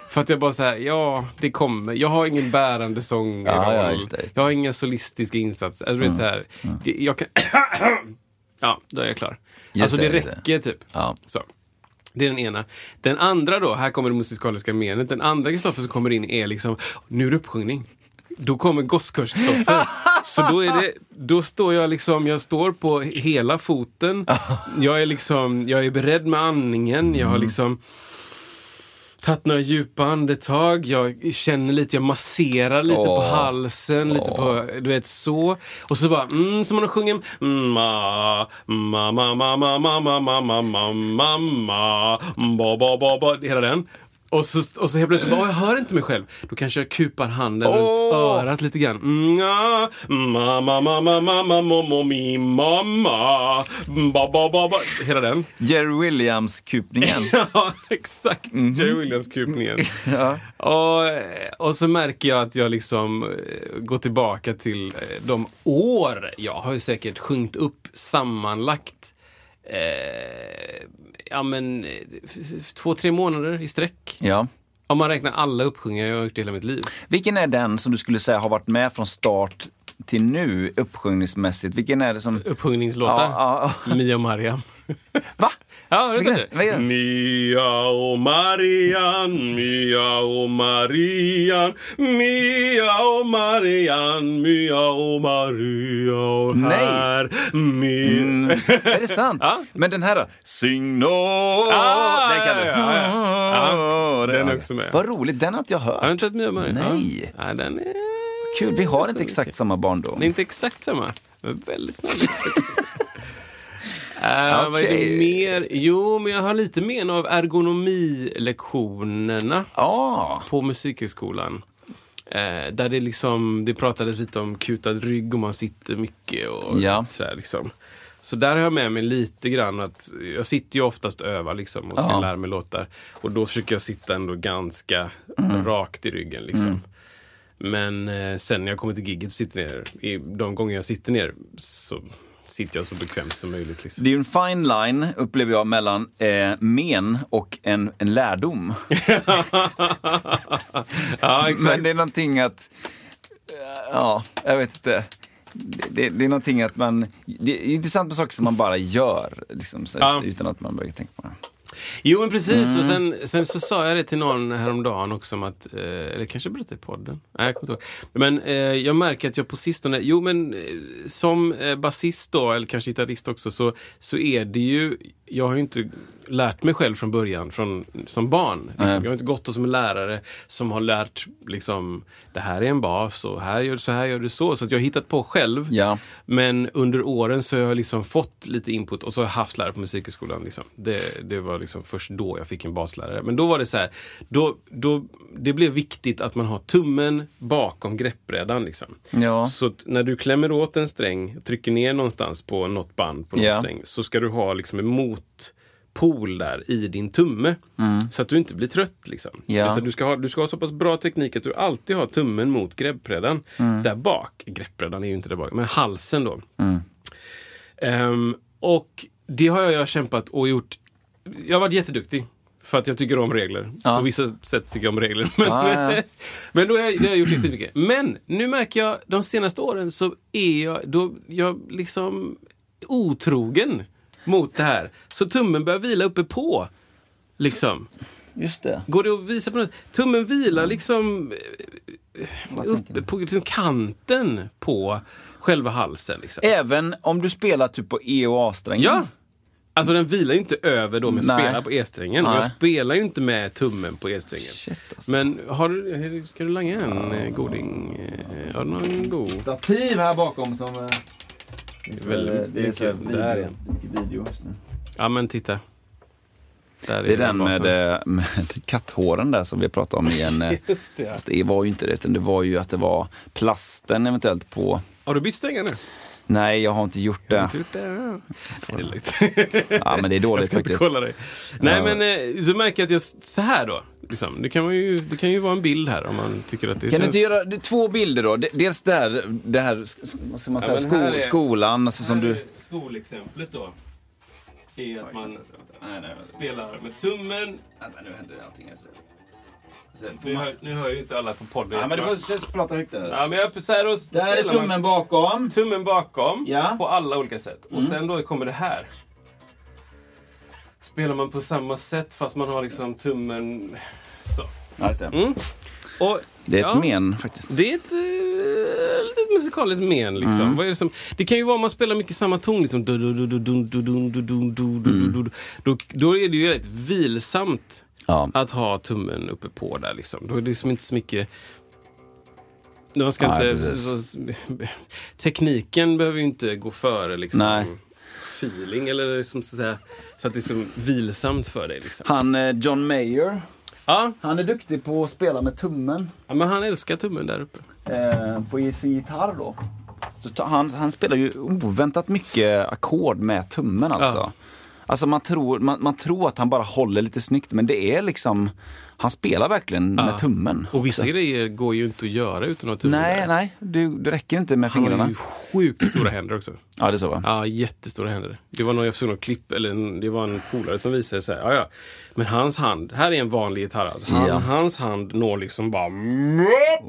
S1: För att jag bara såhär, ja det kommer. Jag har ingen bärande sång
S2: Ja, ja, just det, Mm. just det.
S1: Jag har inga solistiska insatser. Alltså, du vet, så här, det, jag kan... ja, då är jag klar.
S2: Just
S1: alltså det,
S2: det, just det.
S1: räcker typ.
S2: Ja.
S1: Så. Det är den ena. Den andra då, här kommer det musikaliska menet. Den andra Kristoffer som kommer in är liksom, nu är det uppsjungning. Då kommer gosskörs-Kristoffer. Så då, är det, då står jag liksom, jag står på hela foten. Jag är liksom, jag är beredd med andningen. Jag har liksom tagit några djupa andetag. Jag känner lite, jag masserar lite på
S2: Åh.
S1: halsen, lite på, du vet så. Och så bara, mm, som man sjunger. Ma, ma, ma, ma, ma, ma, ma, ma, ma, ma, ma, ma, ba, ba, ba, ba, hela den. Och så, och så helt plötsligt bara, "Åh, jag hör inte mig själv. Då kanske jag kupar handen runt örat lite grann. Mm, ah, ma, ma, ma, ma, ma, ma, mo, mo, mi, ma, ma, ba, ba, ba, ba. Hela den.
S2: Jerry Williams-kupningen.
S1: Ja, exakt.
S2: Mhm.
S1: Jerry Williams-kupningen. och, och så märker jag att jag liksom eh, går tillbaka till eh, de år jag har ju säkert sjungit upp sammanlagt eh, ja men eh, f- f- två, tre månader i sträck.
S2: ja.
S1: Om man räknar alla uppsjungningar jag har gjort i hela mitt liv.
S2: Vilken är den som du skulle säga har varit med från start till nu uppsjungningsmässigt? Vilken är det som...
S1: Uppsjungningslåtar.
S2: Ja,
S1: Mia och Mariam.
S2: Va?
S1: Ja,
S2: Vilken
S1: vet
S2: är det? Vad är
S1: du?
S2: det?
S1: Mia och Marian, Mia och Marian, Mia och Marian, Mia och Maria och
S2: Nej. Mm.
S1: här. Mia.
S2: Är det sant?
S1: Ja.
S2: Men den här då? Sing no!
S1: Ah,
S2: den kan du.
S1: ja, ja, ja. Ja, den är också med.
S2: Vad roligt, den har inte jag
S1: Har du
S2: hört.
S1: inte hört Mia och Marian?
S2: Nej.
S1: Ja. Nej, den är...
S2: Kul, vi har inte exakt samma barndom.
S1: Det är inte exakt samma, men väldigt snabbt. Eh, Vad är
S2: Okej.
S1: det mer? Jo, men jag har lite men av ergonomilektionerna.
S2: Ja,
S1: på Musikhögskolan. Eh, där det liksom, det pratades lite om kutad rygg och man sitter mycket och
S2: Ja.
S1: sådär liksom. Så där har jag med mig lite grann att jag sitter ju oftast och övar liksom och ska
S2: Ja.
S1: lära mig låtar. Och då försöker jag sitta ändå ganska
S2: Mm.
S1: rakt i ryggen liksom. Men eh, sen när jag kommer till gigget och sitter ner, i de gånger jag sitter ner så sitter jag så bekvämt som möjligt. Liksom.
S2: Det är ju en fine line, upplever jag, mellan eh, men och en, en lärdom.
S1: ja, exakt.
S2: Men det är någonting att, eh, ja, jag vet inte. Det, det, det är någonting att man, det är intressant med saker som man bara gör, liksom, så,
S1: Ja.
S2: utan att man börjar tänka på det.
S1: Jo men precis, och sen, sen så sa jag det till någon häromdagen också om att, eh, eller kanske berättade i podden, nej jag kommer inte ihåg. Men eh, jag märker att jag på sistone, jo men eh, som eh, basist då, eller kanske gitarrist också, så, så är det ju, jag har ju inte lärt mig själv från början, från, som barn. Liksom. Jag har inte gått och som en lärare som har lärt, liksom, det här är en bas och här gör du så här, gör du så. Så att jag har hittat på själv.
S2: Ja.
S1: Men under åren så har jag liksom fått lite input och så har jag haft lärare på musikskolan. Liksom. Det, det var liksom först då jag fick en baslärare. Men då var det så här, då, då, det blev viktigt att man har tummen bakom greppbrädan. Liksom.
S2: Ja.
S1: Så att när du klämmer åt en sträng, trycker ner någonstans på något band på någon
S2: Ja.
S1: sträng, så ska du ha liksom en motpol där i din tumme. Så att du inte blir trött. Liksom.
S2: Mm. Ja.
S1: Utan du, ska ha, du ska ha så pass bra teknik att du alltid har tummen mot greppbrädan
S2: Mm.
S1: där bak. Greppbrädan är ju inte där bak, men halsen då. Ehm, och det har jag, jag kämpat och gjort. Jag har varit jätteduktig. För att jag tycker om regler.
S2: Ja.
S1: På vissa sätt tycker jag om regler. Men,
S2: Ja, ja.
S1: men då har jag, det har jag gjort jättemycket. Men nu märker jag, de senaste åren så är jag, då, jag liksom otrogen mot det här. Så tummen börjar vila uppe på. Liksom.
S2: Just det.
S1: Går det att visa på något? Tummen vilar liksom eh, uppe på liksom kanten på själva halsen. Liksom.
S2: Även om du spelar typ på E och A-strängen?
S1: Ja! Alltså den vilar ju inte över då, men
S2: Nej.
S1: spelar på E-strängen. Och
S2: Nej.
S1: Jag spelar ju inte med tummen på E-strängen.
S2: Shit, alltså.
S1: Men har du, ska du langa en eh, goding? Eh, Har du någon god?
S2: Stativ här bakom som... eh,
S1: Väldigt
S2: eh,
S1: mycket
S2: så här
S1: där igen.
S2: mycket video just nu.
S1: Ja men titta. Där
S2: Det är den
S1: basen.
S2: med, eh, med katthåren där som vi pratade om igen. eh,
S1: Just det.
S2: Fast det var ju inte det, utan det var ju att det var plasten eventuellt på...
S1: Har du bytt strängar nu?
S2: Nej, jag har inte gjort det.
S1: Tur det. Nej, det är lugnt.
S2: Ja, men det är
S1: Jag
S2: dåligt
S1: ska inte
S2: faktiskt.
S1: kolla dig. Nej
S2: Ja.
S1: men eh, så märker jag att jag, så här då. Liksom. Det, kan man ju, det kan ju vara en bild här om man tycker att det
S2: Kan
S1: känns...
S2: du inte göra det är två bilder då? D- Dels det här, det här s- vad ska man säga,
S1: men
S2: sko,
S1: här är-
S2: skolan, alltså som du...
S1: Skolexemplet då. Är att man
S2: Nej, nej,
S1: spelar med tummen.
S2: vänta, nu händer allting. Alltså.
S1: Nu hör, nu hör ju inte alla på podden.
S2: Ja, men du får prata högt där.
S1: ja, men jag, så här, då,
S2: Där är
S1: spelar man-
S2: tummen bakom.
S1: tummen bakom
S2: Ja.
S1: på alla olika sätt. Och sen då kommer det här. Spelar man på samma sätt fast man har liksom tummen så.
S2: Ja, just det.
S1: Och,
S2: Det är ett
S1: ja,
S2: men faktiskt.
S1: Det är ett eh, litet musikaliskt men liksom. Vad är det, som, det kan ju vara om man spelar mycket samma ton liksom. Du, du, du, du, du, du, du, du, du, du, du, du, du. Då, då är det ju rätt vilsamt
S2: Ja.
S1: att ha tummen uppe på där liksom. Då är det liksom inte så mycket man ska
S2: Nej,
S1: inte,
S2: precis.
S1: så, tekniken behöver ju inte gå före liksom,
S2: Nej.
S1: feeling eller liksom, så, att säga, så att det är som vilsamt för dig. Liksom.
S2: Han eh, John Mayer,
S1: Ja,
S2: han är duktig på att spela med tummen
S1: ja, men han älskar tummen där uppe.
S2: eh, på sin gitarr då. Så ta- Han, han spelar ju oväntat mycket ackord med tummen alltså.
S1: Ja.
S2: Alltså man tror, man, man tror att han bara håller lite snyggt men det är liksom, han spelar verkligen med tummen.
S1: Och vissa
S2: också.
S1: grejer går ju inte att göra utan att ha tummen
S2: Nej,
S1: där.
S2: nej, du, det räcker inte med
S1: Han har
S2: fingrarna.
S1: ju sjukt stora händer också.
S2: Ja, det är så va?
S1: Ja, jättestora händer. Det var någon, jag såg någon klipp, eller en, det var en polare som visade så här, ja, ja. Men hans hand, här är en vanlig gitarr alltså. Han,
S2: Ja.
S1: Hans hand når liksom bara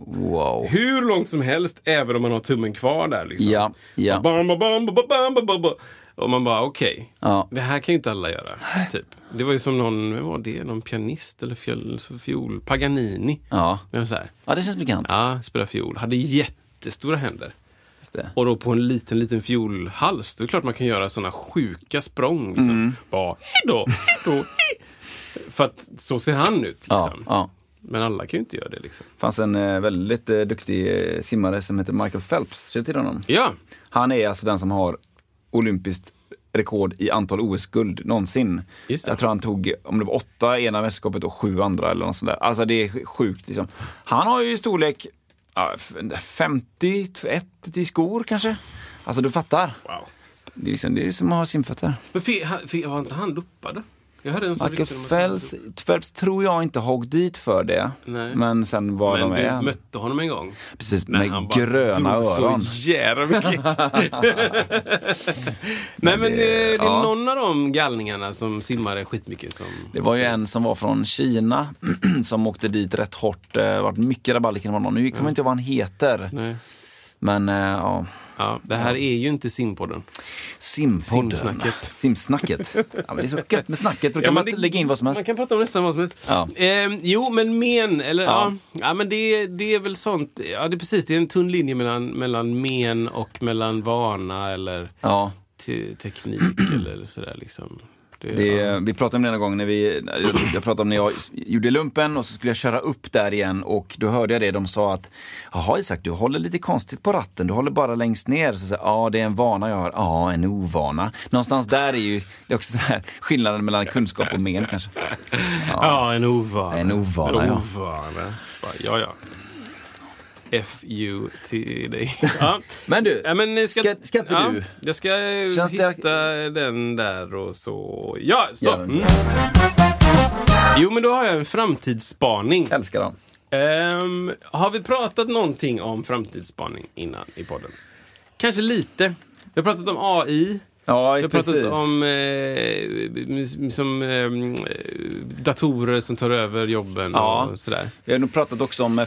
S2: Wow.
S1: hur långt som helst, även om man har tummen kvar där. Liksom.
S2: Ja, ja.
S1: Bam, bam, bam, bam, bam, bam, bam, bam. Och man bara, okej,
S2: Ja.
S1: det här kan ju inte alla göra. Typ. Det var ju som någon, vem var det? Någon pianist eller fjol, fiol? Paganini.
S2: Ja.
S1: Det var så här,
S2: ja, det känns bekant.
S1: ja, spelar fiol. Hade jättestora händer.
S2: Just det.
S1: Och då på en liten, liten fiolhals, då är det klart man kan göra sådana sjuka språng. Liksom.
S2: Mm.
S1: Bara, hejdå, hejdå, hej. För att så ser han ut.
S2: Ja,
S1: Liksom.
S2: ja.
S1: Men alla kan ju inte göra det. Liksom.
S2: Det fanns en eh, väldigt eh, duktig eh, simmare som heter Michael Phelps. Känner du till honom?
S1: Ja,
S2: Han är alltså den som har olympiskt rekord i antal OS-guld någonsin.
S1: Just det.
S2: Jag tror han tog, om det var åtta i ena mästerskapet och sju andra eller något sånt där. Alltså det är sjukt liksom. Han har ju i storlek ja, f- 51 i skor kanske. Alltså du fattar.
S1: Wow.
S2: Det är, liksom, det är som att ha simfötter.
S1: Men fi- han- fi- var inte han dopad? Jag hörde en sån
S2: Michael
S1: rykte om att han var
S2: Phelps,
S1: dopad.
S2: Phelps tror jag inte har åkt dit för det.
S1: Nej.
S2: Men sen var de
S1: Men
S2: är.
S1: du mötte honom en gång?
S2: Precis,
S1: Nej,
S2: med
S1: han bara
S2: gröna
S1: drog
S2: öron.
S1: så jävla mycket. Nej men det, det är
S2: ja.
S1: någon av de galningarna som simmade skitmycket som...
S2: Det var ju en som var från Kina Eh, som åkte dit rätt hårt. Det har varit mycket rabalder kring honom. Nu kommer jag inte ihåg vad han heter.
S1: Mm. Nej.
S2: Men eh, ja,
S1: Ja, det här är ju inte simpodden.
S2: simpodden.
S1: Simsnacket.
S2: Simsnacket. Ja, men det är så gött med snacket, för då
S1: Ja,
S2: kan
S1: men
S2: man
S1: det-
S2: lägga in vad som helst.
S1: Man kan prata om nästan vad som helst.
S2: Ja.
S1: Ehm, jo, men men, eller ja.
S2: Ja.
S1: ja. men det, det är väl sånt. Ja, det är precis. Det är en tunn linje mellan, mellan men och mellan vana eller
S2: Ja.
S1: te- teknik eller sådär liksom. Det,
S2: Det,
S1: ja.
S2: Vi pratade om det en gång när vi, jag- jag pratade om när jag gjorde lumpen och så skulle jag köra upp där igen och då hörde jag det, de sa att jaha Isak, du håller lite konstigt på ratten, du håller bara längst ner. Så jag sa, ja det är en vana jag har, ja en ovana. Någonstans där är ju det är också så här, skillnaden mellan kunskap och men kanske.
S1: ja. en ovana.
S2: En ovana,
S1: En
S2: ja.
S1: ovana. Bara, Ja, ja. F-U till dig. Ja.
S2: Men du,
S1: Ja, men eh, ska,
S2: ska, ska inte
S1: ja,
S2: du?
S1: Jag ska eh,
S2: Känns det-
S1: hitta den där och så. Ja, så.
S2: Ja.
S1: Mm. Jo, men då har jag en framtidsspaning.
S2: Älskar dem.
S1: Ehm, har vi pratat någonting om framtidsspaning innan i podden? Kanske lite. Vi har pratat om AI.
S2: Ja,
S1: Vi har
S2: precis.
S1: pratat om eh, som, ehm, eh, datorer som tar över jobben
S2: Ja.
S1: och sådär.
S2: Vi har nog pratat också om eh,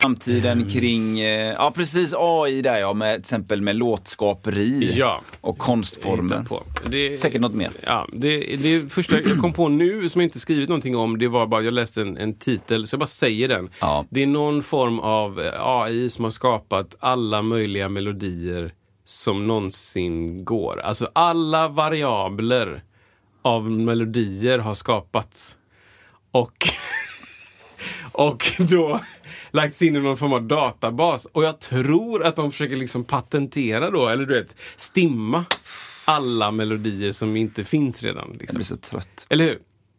S2: framtiden kring, eh, ja precis AI där ja, med, till exempel med låtskaperi
S1: Ja.
S2: och konstformer.
S1: Hitta på. Det,
S2: Säkert något mer.
S1: Ja, det, det första jag kom på nu som jag inte skrivit någonting om, det var bara, jag läste en, en titel, så jag bara säger den.
S2: Ja.
S1: Det är någon form av eh, AI som har skapat alla möjliga melodier som någonsin går. Alltså alla variabler av melodier har skapats. Och, och då lagts in i någon form av databas. Och jag tror att de försöker liksom patentera då, eller du vet, stimma alla melodier som inte finns redan.
S2: Jag
S1: Liksom.
S2: blir så trött.
S1: Eller hur?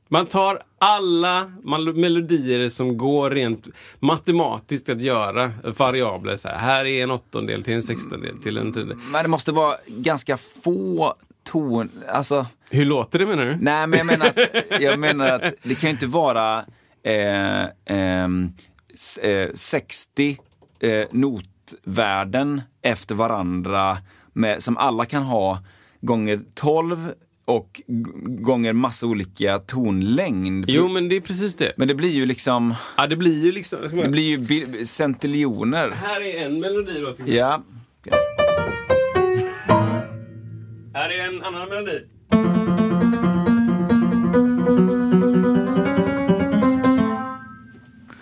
S1: Man tar alla mal- melodier som går rent matematiskt att göra, variabler. Så här, här är en åttondel till en sextondel till en tiondel.
S2: Men det måste vara ganska få ton, alltså,
S1: Hur låter det menar du?
S2: nej men jag menar att, jag menar att det kan ju inte vara eh, ehm, s- eh, 60 eh, notvärden efter varandra med, som alla kan ha gånger 12 och g- gånger massa olika tonlängd.
S1: Jo, men det är precis det.
S2: Men det blir ju liksom,
S1: Ja, det blir ju liksom...
S2: det blir ju bil- centiljoner.
S1: Här är en melodi då. till exempel.
S2: Ja.
S1: Här är en annan melodi.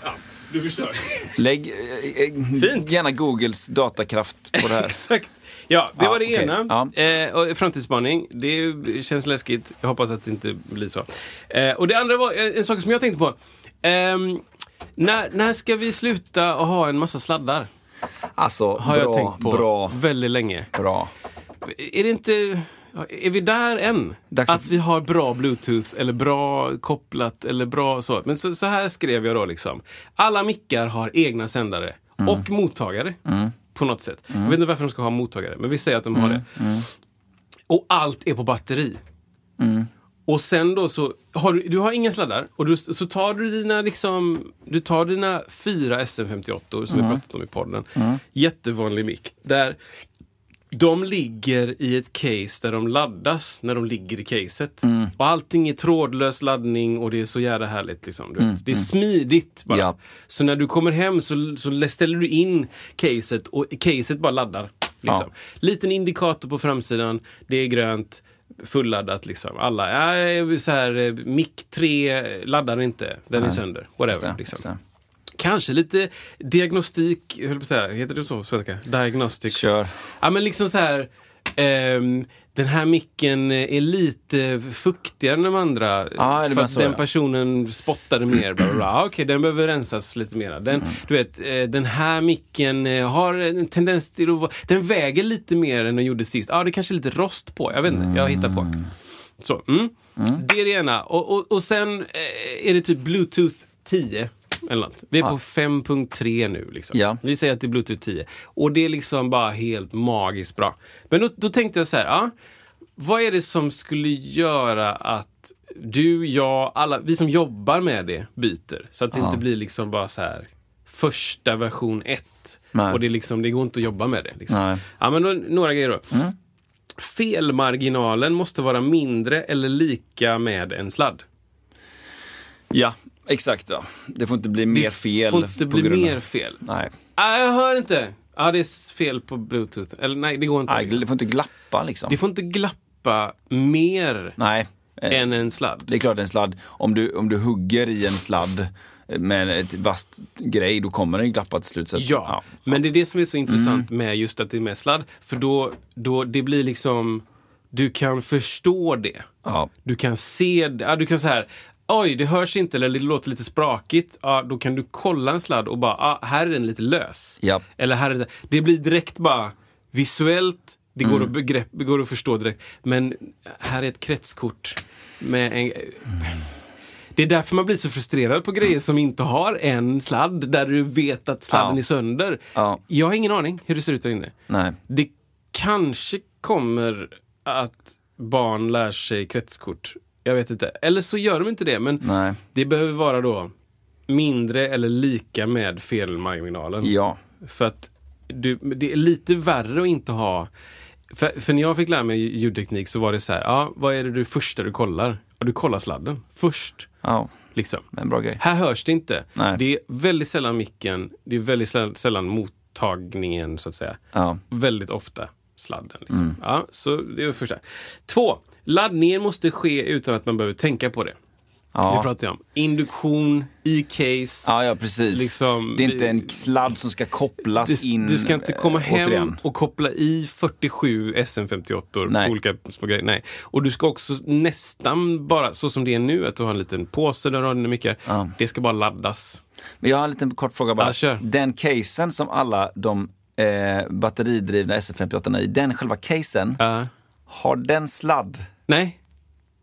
S1: Ja, du förstår.
S2: Lägg eh, eh,
S1: Fint.
S2: gärna Googles datakraft på det här.
S1: Exakt. Ja, det
S2: Ja,
S1: var det
S2: okej.
S1: ena.
S2: Ja.
S1: Eh, och framtidsspaning, det känns läskigt. Jag hoppas att det inte blir så. Eh, och det andra var eh, en sak som jag tänkte på. Ehm, när, när ska vi sluta att ha en massa sladdar?
S2: Alltså,
S1: Har
S2: bra,
S1: jag tänkt på
S2: bra,
S1: väldigt länge.
S2: bra.
S1: Är det inte... Är vi där än?
S2: Dags
S1: att
S2: att-
S1: vi har bra bluetooth eller bra kopplat eller bra så. Men så, så här skrev jag då liksom. Alla mickar har egna sändare och mottagare. På något sätt. Jag vet inte varför de ska ha mottagare, men vi säger att de har det. Och allt är på batteri. Och sen då så har du, du har inga sladdar och du, så tar du dina liksom, du tar dina fyra SM58 som vi pratat om i podden. Jättevanlig mick. Där de ligger i ett case där de laddas när de ligger i caset. Och allting är trådlös laddning och det är så jävla härligt. Liksom, du vet. Det är smidigt bara.
S2: Ja.
S1: Så när du kommer hem så, så ställer du in caset och caset bara laddar. Liksom. Liten indikator på framsidan, det är grönt. fulladdat liksom. Alla, ja, så här, eh, mic 3 laddar inte, den är sönder.
S2: Just
S1: Whatever.
S2: det, just
S1: liksom.
S2: det.
S1: Kanske lite diagnostik, jag höll på att säga, heter det så på svenska? Diagnostics.
S2: Kör.
S1: Ja men liksom så här, ehm, den här micken är lite fuktigare än de andra.
S2: Ja, Ah, det
S1: för
S2: menar
S1: att
S2: så,
S1: den
S2: ja. Mm.
S1: personen spottade mer. Bla, bla, bla. Ah, Okej, den behöver rensas lite mer. Den, Du vet, eh, den här micken eh, har en tendens till att vara- Den väger lite mer än den gjorde sist. Ja, ah, det kanske är lite rost på. Jag vet inte, jag hittar på. Så, mm. Det är det ena. Och, och, och sen eh, är det typ Bluetooth 10. Eller något. Vi är på 5.3 nu. Liksom.
S2: Ja.
S1: Vi säger att det är Bluetooth 10. Och det är liksom bara helt magiskt bra. Men då, då tänkte jag så här, ja, vad är det som skulle göra att du, jag, alla, vi som jobbar med det byter? Så att det inte blir liksom bara så här första version 1.
S2: Nej.
S1: Och det, är liksom, det går inte att jobba med det. Liksom.
S2: Nej.
S1: Ja, men då, några grejer då. Felmarginalen måste vara mindre eller lika med en sladd.
S2: Ja, exakt. Ja. Det får inte bli mer fel.
S1: Får inte
S2: på
S1: bli
S2: grund av-
S1: mer fel.
S2: Nej.
S1: Ah, jag hör inte! Ja, ah, det är s- fel på bluetooth. Eller nej, det går inte.
S2: Nej,
S1: liksom.
S2: det får inte glappa liksom.
S1: Det får inte glappa mer
S2: Nej. Eh,
S1: än en sladd.
S2: Det är klart en sladd. Om du, om du hugger i en sladd med ett vasst grej, då kommer den glappa till slut. Så
S1: Ja,
S2: att,
S1: men det är det som är så
S2: Mm.
S1: intressant med just att det är med sladd. För då, då det blir liksom, du kan förstå det.
S2: Ja.
S1: Du kan se, det. ja, du kan så här, oj det hörs inte eller det låter lite sprakigt. Ja, då kan du kolla en sladd och bara, ah, här är den lite lös.
S2: Ja.
S1: Eller här är det, det blir direkt bara visuellt, det
S2: Mm.
S1: går, att begrepp, det går att förstå direkt. Men här är ett kretskort med en...
S2: Mm.
S1: Det är därför man blir så frustrerad på grejer som inte har en sladd där du vet att sladden
S2: Ja.
S1: är sönder.
S2: Ja.
S1: Jag har ingen aning hur det ser ut där inne.
S2: Nej.
S1: Det kanske kommer att barn lär sig kretskort. Jag vet inte. Eller så gör de inte det. Men
S2: Nej.
S1: det behöver vara då mindre eller lika med felmarginalen.
S2: Ja.
S1: För att du, det är lite värre att inte ha... För, för när jag fick lära mig ljudteknik så var det så här, ja, vad är det du första du kollar? Ja, du kollar sladden först.
S2: ja.
S1: Liksom.
S2: Det är en bra grej.
S1: Här hörs det inte.
S2: Nej.
S1: Det är väldigt sällan micken, det är väldigt säll- sällan mottagningen så att säga.
S2: Ja. Mm.
S1: Väldigt ofta sladden. Liksom. Ja, så det är det första. Två, laddningen måste ske utan att man behöver tänka på det. Det
S2: Ja.
S1: pratar jag om. Induktion, e-case.
S2: Ja, ja, precis.
S1: Liksom-
S2: det är inte en sladd som ska kopplas
S1: Du,
S2: in.
S1: du ska inte
S2: eh,
S1: komma hem
S2: Återigen.
S1: och koppla i 47 SM58
S2: Nej.
S1: på olika små grejer. Nej. Och du ska också nästan bara, så som det är nu, att du har en liten påse där du har dina mickar. Det ska bara laddas.
S2: Men jag har en liten kort fråga bara.
S1: Ja, kör.
S2: Den casen som alla de eh, batteridrivna SF58 är i, den själva casen,
S1: Ja.
S2: har den sladd?
S1: Nej,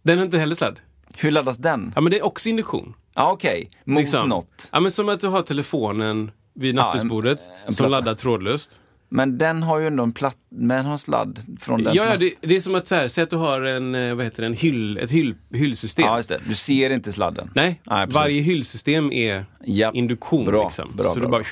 S1: den har inte heller sladd.
S2: Hur laddas den?
S1: Ja, men det är också induktion.
S2: Ja, okej. Mot
S1: Liksom.
S2: något.
S1: Ja, men som att du har telefonen vid
S2: en-
S1: nattduksbordet
S2: en
S1: som
S2: platta.
S1: laddar trådlöst.
S2: Men den har ju ändå en platt, men den har en sladd från den
S1: Ja, ja
S2: platt-
S1: det, det är som att, så här, säg att du har en, eh, vad heter det, en hyll, ett hyll, hyllsystem.
S2: Ja, just det. Du ser inte sladden.
S1: Nej,
S2: Nej, precis.
S1: varje hyllsystem är
S2: Japp.
S1: induktion.
S2: Bra,
S1: liksom.
S2: bra,
S1: så
S2: bra,
S1: du bara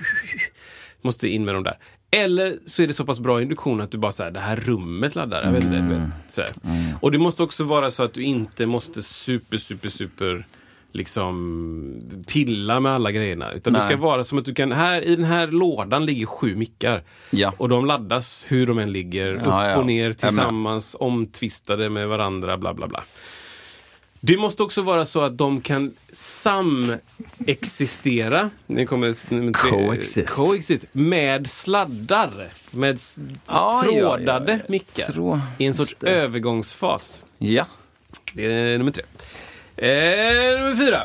S1: måste in med dem där. Eller så är det så pass bra induktion att du bara säger det här rummet laddar. Jag vet inte, du
S2: Mm.
S1: vet, så här. Och det måste också vara så att du inte måste super, super, super liksom pilla med alla grejerna. Utan det
S2: Nej.
S1: ska vara som att du kan, här i den här lådan ligger sju mickar.
S2: Ja.
S1: Och de laddas hur de än ligger,
S2: Ja,
S1: upp
S2: ja.
S1: och ner
S2: Jag med.
S1: tillsammans, omtvistade med varandra, bla bla bla. Det måste också vara så att de kan samexistera. Nu kommer nummer tre.
S2: Coexist.
S1: Coexist. Med sladdar. Med s-
S2: Ah, Ja, ja, ja,
S1: trådade
S2: ja.
S1: mickar.
S2: Trå-
S1: I en sorts
S2: just det.
S1: övergångsfas.
S2: Ja.
S1: Det är nummer tre. Eh, nummer fyra.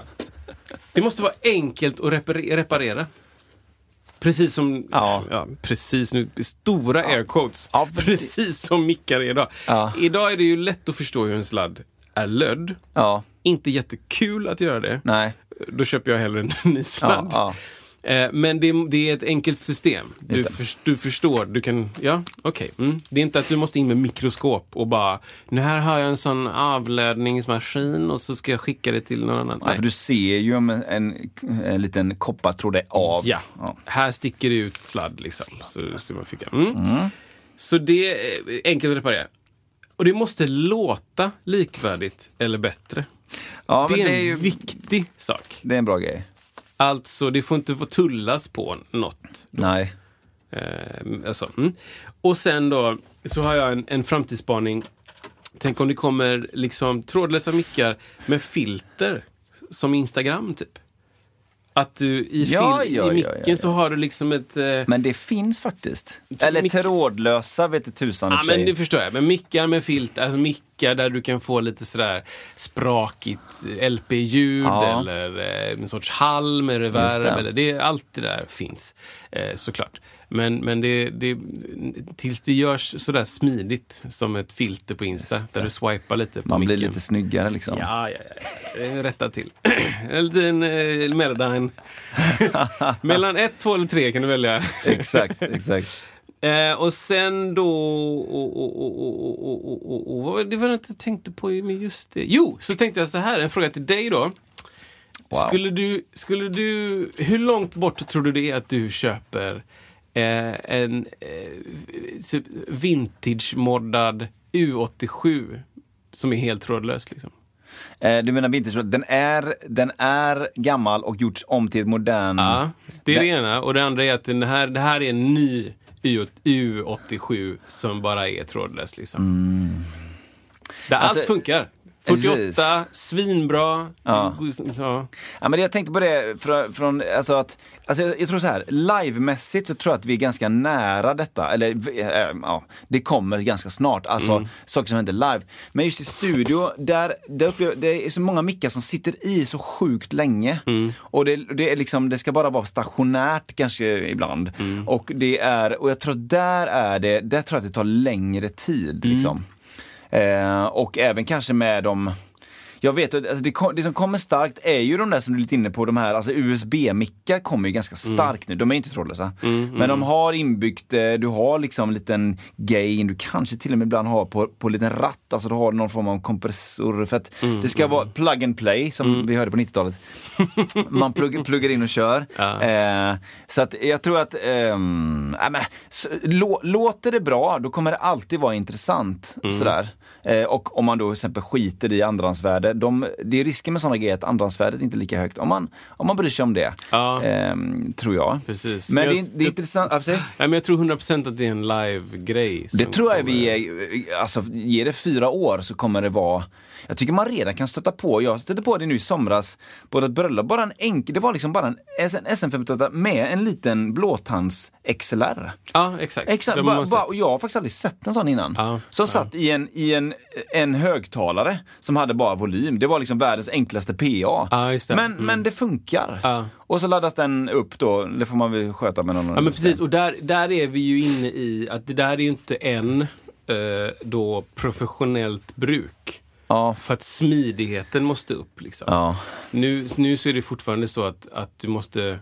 S1: Det måste vara enkelt att repare- reparera. Precis som...
S2: Ja.
S1: precis nu. Stora air quotes.
S2: Ja, för det-
S1: precis som mickar är idag.
S2: Ja.
S1: Idag är det ju lätt att förstå hur en sladd är lödd.
S2: Ja.
S1: Inte jättekul att göra det.
S2: Nej.
S1: Då köper jag hellre en ny sladd.
S2: ja.
S1: Eh, Men det, det är ett enkelt system. Du,
S2: det.
S1: förs- du förstår, du kan... Ja, okej. Mm. Det är inte att du måste in med mikroskop och bara... Nu här har jag en sån avlödningsmaskin och så ska jag skicka det till någon annan.
S2: Ja, för du ser ju om en, en, en liten koppartråd är av.
S1: Ja. Här sticker det ut sladd liksom. Så ser man fickan. Mm. Så det är eh, enkelt att reparera. Och det måste låta likvärdigt eller bättre.
S2: Ja,
S1: det,
S2: men
S1: är
S2: det
S1: en
S2: är ju...
S1: viktig sak.
S2: Det är en bra grej.
S1: Alltså, det får inte få tullas på något.
S2: Nej.
S1: Eh, alltså, mm. Och sen då så har jag en, en framtidsspaning Tänk om det kommer liksom trådlösa mickar med filter, som Instagram typ. Att du i,
S2: Ja,
S1: fil-
S2: ja, ja,
S1: i micken
S2: ja, ja.
S1: så har du liksom ett... eh,
S2: Men det finns faktiskt. Eller
S1: mycket-
S2: trådlösa vet du tusan i och
S1: Ja,
S2: för
S1: men
S2: sig.
S1: det förstår jag. Men mickar med filter, alltså mickar där du kan få lite sådär sprakigt LP-ljud
S2: Ja.
S1: eller eh, en sorts halm,
S2: Just
S1: reverb.
S2: det.
S1: Eller, det, allt det där finns eh, såklart. Men, men det, det, tills det görs sådär smidigt som ett filter på Insta där du swipar lite på
S2: Man blir
S1: micken.
S2: lite snyggare liksom.
S1: Ja, ja, ja. Eh, Rätta till. en liten eh, Melodyne. Mellan ett, två eller tre kan du välja.
S2: Exakt, exakt.
S1: Eh, och sen då... Och, och, och, och, och, och, och, och, vad var det- det var något jag tänkte på med just det. Jo, så tänkte jag så här, en fråga till dig då.
S2: Wow.
S1: Skulle du, skulle du, hur långt bort tror du det är att du köper eh, en eh, typ vintage-moddad U87 som är helt trådlös? Liksom?
S2: Eh, du menar vintage, den är, den är gammal och gjorts om till ett modern...
S1: Ja, det är det
S2: Nej.
S1: ena. Och det andra är att den här, det här är en ny U- U87 som bara är trådlös. Liksom. Där allt
S2: Mm. Alltså,
S1: funkar.
S2: precis.
S1: 48, svinbra.
S2: Ja.
S1: Ja.
S2: Ja, men det jag tänkte på det från, från alltså att, alltså jag, jag tror så här, livemässigt så tror jag att vi är ganska nära detta, eller vi- eh, ja, det kommer ganska snart, alltså saker som händer live. Men just i studio, där, där upplever, det är så många mickar som sitter i så sjukt länge. Och det, det är liksom, det ska bara vara stationärt kanske ibland. Och det är, och jag tror att där är det, där tror jag att det tar längre tid liksom. Eh, och även kanske med de jag vet, att, alltså det, kom, det som kommer starkt är ju de där som du är lite inne på, de här, alltså USB-mickar kommer ju ganska starkt nu. De är inte trådlösa. men de har inbyggt, eh, du har liksom en liten gain, du kanske till och med ibland har på, på en liten ratt, alltså du har någon form av kompressor. För att det ska vara plug and play som vi hörde på 90-talet. Man plugg, pluggar in och kör. Eh, så att jag tror att, ehm, nej men, s- lå, låter det bra då kommer det alltid vara intressant.
S1: Mm.
S2: Sådär. Eh, och om man då till exempel skiter i andrahandsvärde, de, det är risken med sådana grejer att andrahandsvärdet inte är lika högt. Om man, om man bryr sig om det,
S1: Ja.
S2: ehm, tror jag.
S1: Precis.
S2: Men
S1: Jag-
S2: det, är- det är
S1: jag-
S2: intressant, ja, precis.
S1: Nej, men jag tror 100% att det är en live-grej.
S2: Det
S1: som
S2: tror jag
S1: kommer.
S2: vi, är- alltså ger det fyra år så kommer det vara, jag tycker man redan kan stöta på, jag stötte på det nu i somras på ett bröllop, bara en enkel, det var liksom bara en SM58 med en liten blåtands XLR.
S1: Ja, exakt. Det
S2: Exakt,
S1: har
S2: bara,
S1: man
S2: bara,
S1: sett.
S2: och jag har faktiskt aldrig sett en sån innan.
S1: Ja,
S2: som satt i, en, i en, en högtalare som hade bara volym. Det var liksom världens enklaste PA.
S1: Ja, just det.
S2: Men,
S1: Mm.
S2: men det funkar.
S1: Ja.
S2: Och så laddas den upp då, det får man väl sköta med någon.
S1: Ja men precis, och där, där är vi ju inne i att det där är ju inte än eh, då professionellt bruk.
S2: Ja.
S1: För att smidigheten måste upp. Liksom.
S2: Ja.
S1: Nu, nu så är det fortfarande så att, att du måste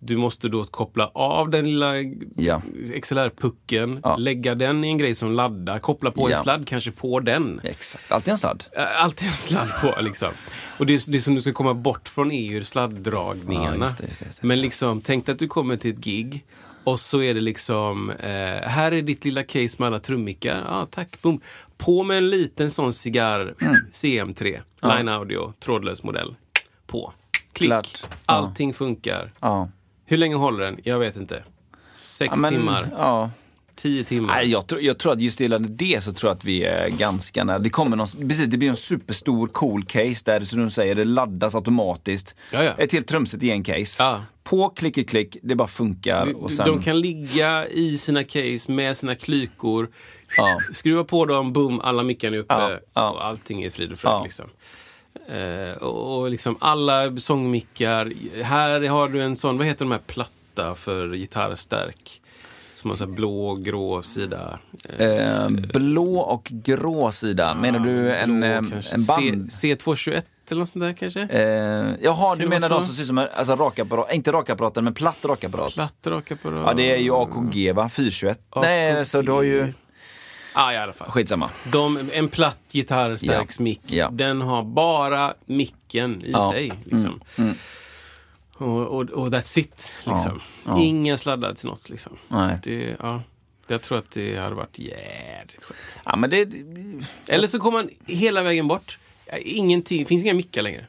S1: du måste då koppla av den lilla
S2: Ja.
S1: XLR-pucken,
S2: Ja.
S1: lägga den i en grej som laddar, koppla på
S2: Ja.
S1: en sladd kanske på den.
S2: Exakt, alltid en sladd.
S1: Eh, Alltid en sladd på liksom. Och det, det som du ska komma bort från är ju sladddragningarna.
S2: Ja, just det, just det, just det.
S1: Men liksom, tänk dig att du kommer till ett gig och så är det liksom, eh, här är ditt lilla case med alla trummickar. Ja, tack, boom. På med en liten sån cigarr, CM3, Line Audio, trådlös modell. På. Klick.
S2: Klart. Ja.
S1: Allting funkar.
S2: Ja.
S1: Hur länge håller den? Jag vet inte. Sex
S2: Ja, men-
S1: timmar,
S2: Ja.
S1: tio timmar.
S2: Nej, jag, tror, jag tror att just gällande det så tror jag att vi är ganska nära. Det kommer någon, precis, det blir en superstor cool case där som du säger, det laddas automatiskt.
S1: Ja, ja.
S2: Ett helt trumset i en case.
S1: Ja.
S2: På klick i klick, det bara funkar. Och sen,
S1: De kan ligga i sina case med sina klykor.
S2: Ja.
S1: Skruva på dem, boom, alla mickarna är uppe
S2: Ja, ja.
S1: och allting är frid och fröjd.
S2: Ja.
S1: Liksom. Eh, och och liksom alla sångmickar. Här har du en sån, vad heter de här platta för gitarrstärk? Som har så här blå, grå sida. Eh,
S2: eh, blå och grå sida, menar du en,
S1: Ah, blå
S2: eh,
S1: kanske.
S2: en band?
S1: C, C221 eller något sånt där kanske?
S2: Eh, jaha, du
S1: det
S2: menar
S1: vara
S2: de
S1: så?
S2: som ser ut som en- alltså, rakapparat, inte rakapparaten men platt rakapparat.
S1: Platt raka på
S2: Ja, det är ju AKG va? 421. Nej, så du har ju...
S1: Ah, ja, i alla fall.
S2: Skitsamma.
S1: De, en platt gitarrstärksmick.
S2: Ja, ja.
S1: Den har bara micken i
S2: Ja, Mm.
S1: sig. Liksom. Och, och, och that's it. Liksom. Inga sladdar till något. Liksom.
S2: Nej.
S1: Det, ja. Jag tror att det hade varit jädrigt skönt.
S2: Ja, men det...
S1: Eller så kommer man hela vägen bort. Ingenting, finns inga mickar längre.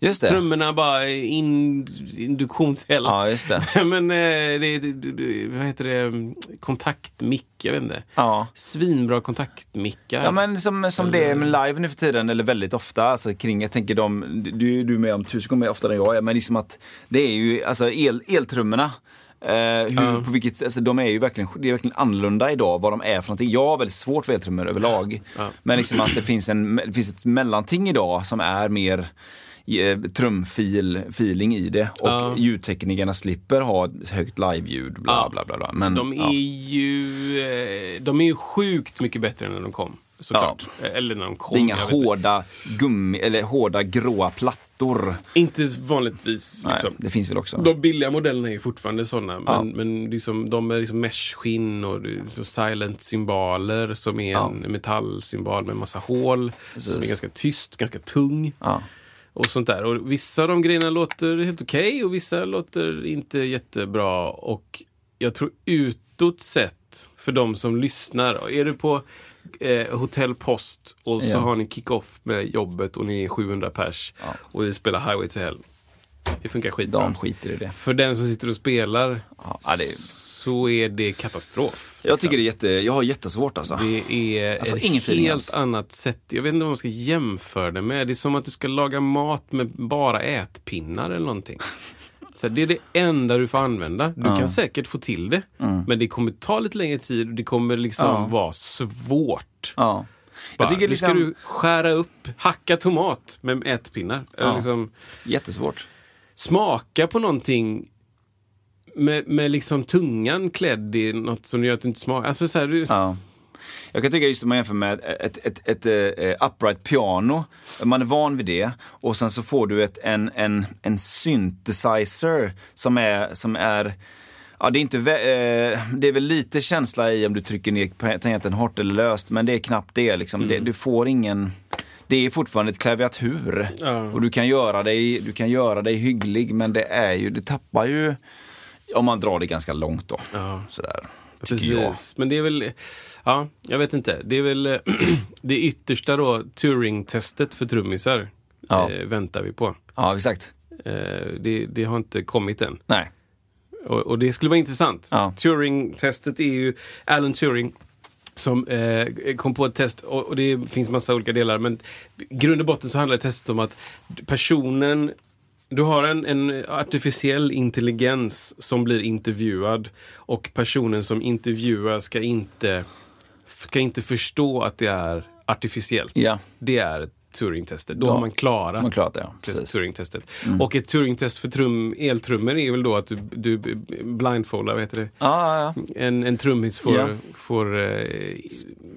S2: Just det.
S1: Trummorna bara in, induktionshälla.
S2: Ja, just det.
S1: Men eh, det, det- det, vad heter det, kontaktmick, jag vet inte.
S2: Ja.
S1: Svinbra kontaktmickar.
S2: Ja, men som, som det är med live nu för tiden, eller väldigt ofta, alltså kring, jag tänker de, du, du är med om tusen gånger oftare än jag är, men liksom att det är ju, alltså el, eltrummorna, eh, hur, på vilket, alltså de är ju verkligen, det är verkligen annorlunda idag vad de är för någonting. Jag har väldigt svårt för eltrummor överlag, men liksom att det finns, en, det finns ett mellanting idag som är mer eh, trumfil-feeling i det och
S1: Ja.
S2: ljudteknikerna slipper ha ett högt live-ljud bla
S1: Ja.
S2: bla bla. bla. Men,
S1: de är
S2: ja.
S1: ju eh, de är ju sjukt mycket bättre än när de kom. Såklart. Eh, Eller när de kom.
S2: Det är inga
S1: jag vet inte.
S2: hårda gummi eller hårda gråa plattor.
S1: Inte vanligtvis.
S2: Nej,
S1: Liksom.
S2: det finns väl också.
S1: De billiga modellerna är ju fortfarande sådana. Men,
S2: Ja.
S1: men liksom, de är liksom mesh-skinn och det är liksom silent symboler som är
S2: Ja.
S1: en metallsymbol med massa hål. Som är
S2: Precis.
S1: ganska tyst, ganska tung.
S2: Ja.
S1: Och sånt där. Och vissa av de grejerna låter helt okej och vissa låter inte jättebra. Och jag tror utåt sett, för de som lyssnar, är du på eh, Hotell Post och så
S2: Ja.
S1: har ni kick-off med jobbet och ni är 700 pers och vi spelar Highway to Hell. Det funkar skitbra.
S2: De skiter i det.
S1: För den som sitter och spelar
S2: Ja, ja, det är-
S1: så är det katastrof. Liksom.
S2: Jag tycker det är jätte, jag har jättesvårt alltså.
S1: Det är
S2: får
S1: ett
S2: ingen
S1: helt
S2: feeling alls.
S1: annat sätt. Jag vet inte vad man ska jämföra det med. Det är som att du ska laga mat med bara ätpinnar eller någonting. Så här, det är det enda du får använda. Du kan säkert få till det.
S2: Mm.
S1: Men det kommer ta lite längre tid och det kommer liksom vara svårt.
S2: Ja. Jag
S1: Bara,
S2: tycker
S1: nu ska
S2: liksom,
S1: du skära upp, hacka tomat med ätpinnar. Eller Liksom,
S2: jättesvårt.
S1: smaka på någonting med, med liksom tungan klädd i något som gör att du inte smakar. Alltså så här, du,
S2: Ja. Jag kan tycka just om man jämför med ett, ett, ett, eh, upright piano, man är van vid det och sen så får du ett, en, en, en synthesizer som är, som är Ja, det, är inte vä- eh, det är väl lite känsla i om du trycker ner pe- tangenten hårt eller löst, men det är knappt det. Liksom. det du får ingen... Det är fortfarande ett klaviatur och du kan, göra dig, du kan göra dig hygglig, men det är ju, det tappar ju... Om man drar det ganska långt då. Sådär, tycker jag.
S1: Men det är väl, ja, jag vet inte. Det är väl eh, det yttersta då, Turing-testet för trummisar,
S2: Ja.
S1: eh, väntar vi på.
S2: Ja, exakt.
S1: Eh, det, det har inte kommit än.
S2: Nej.
S1: Och, och det skulle vara intressant.
S2: Ja.
S1: Turing-testet är ju Alan Turing som eh, kom på ett test och, och det finns massa olika delar men i grund och botten så handlar testet om att personen du har en, en artificiell intelligens som blir intervjuad och personen som intervjuar ska inte, ska inte förstå att det är artificiellt.
S2: Ja.
S1: Det är Turing-testet. Då
S2: Ja,
S1: har man klarat,
S2: man klarat det, ja.
S1: test-
S2: Precis.
S1: Turing-testet.
S2: Mm.
S1: Och ett Turing-test för trum, eltrummor är väl då att du, du blindfoldar, vad heter det?
S2: Ja, ja, ja.
S1: En, en trummis får,
S2: Ja.
S1: får eh,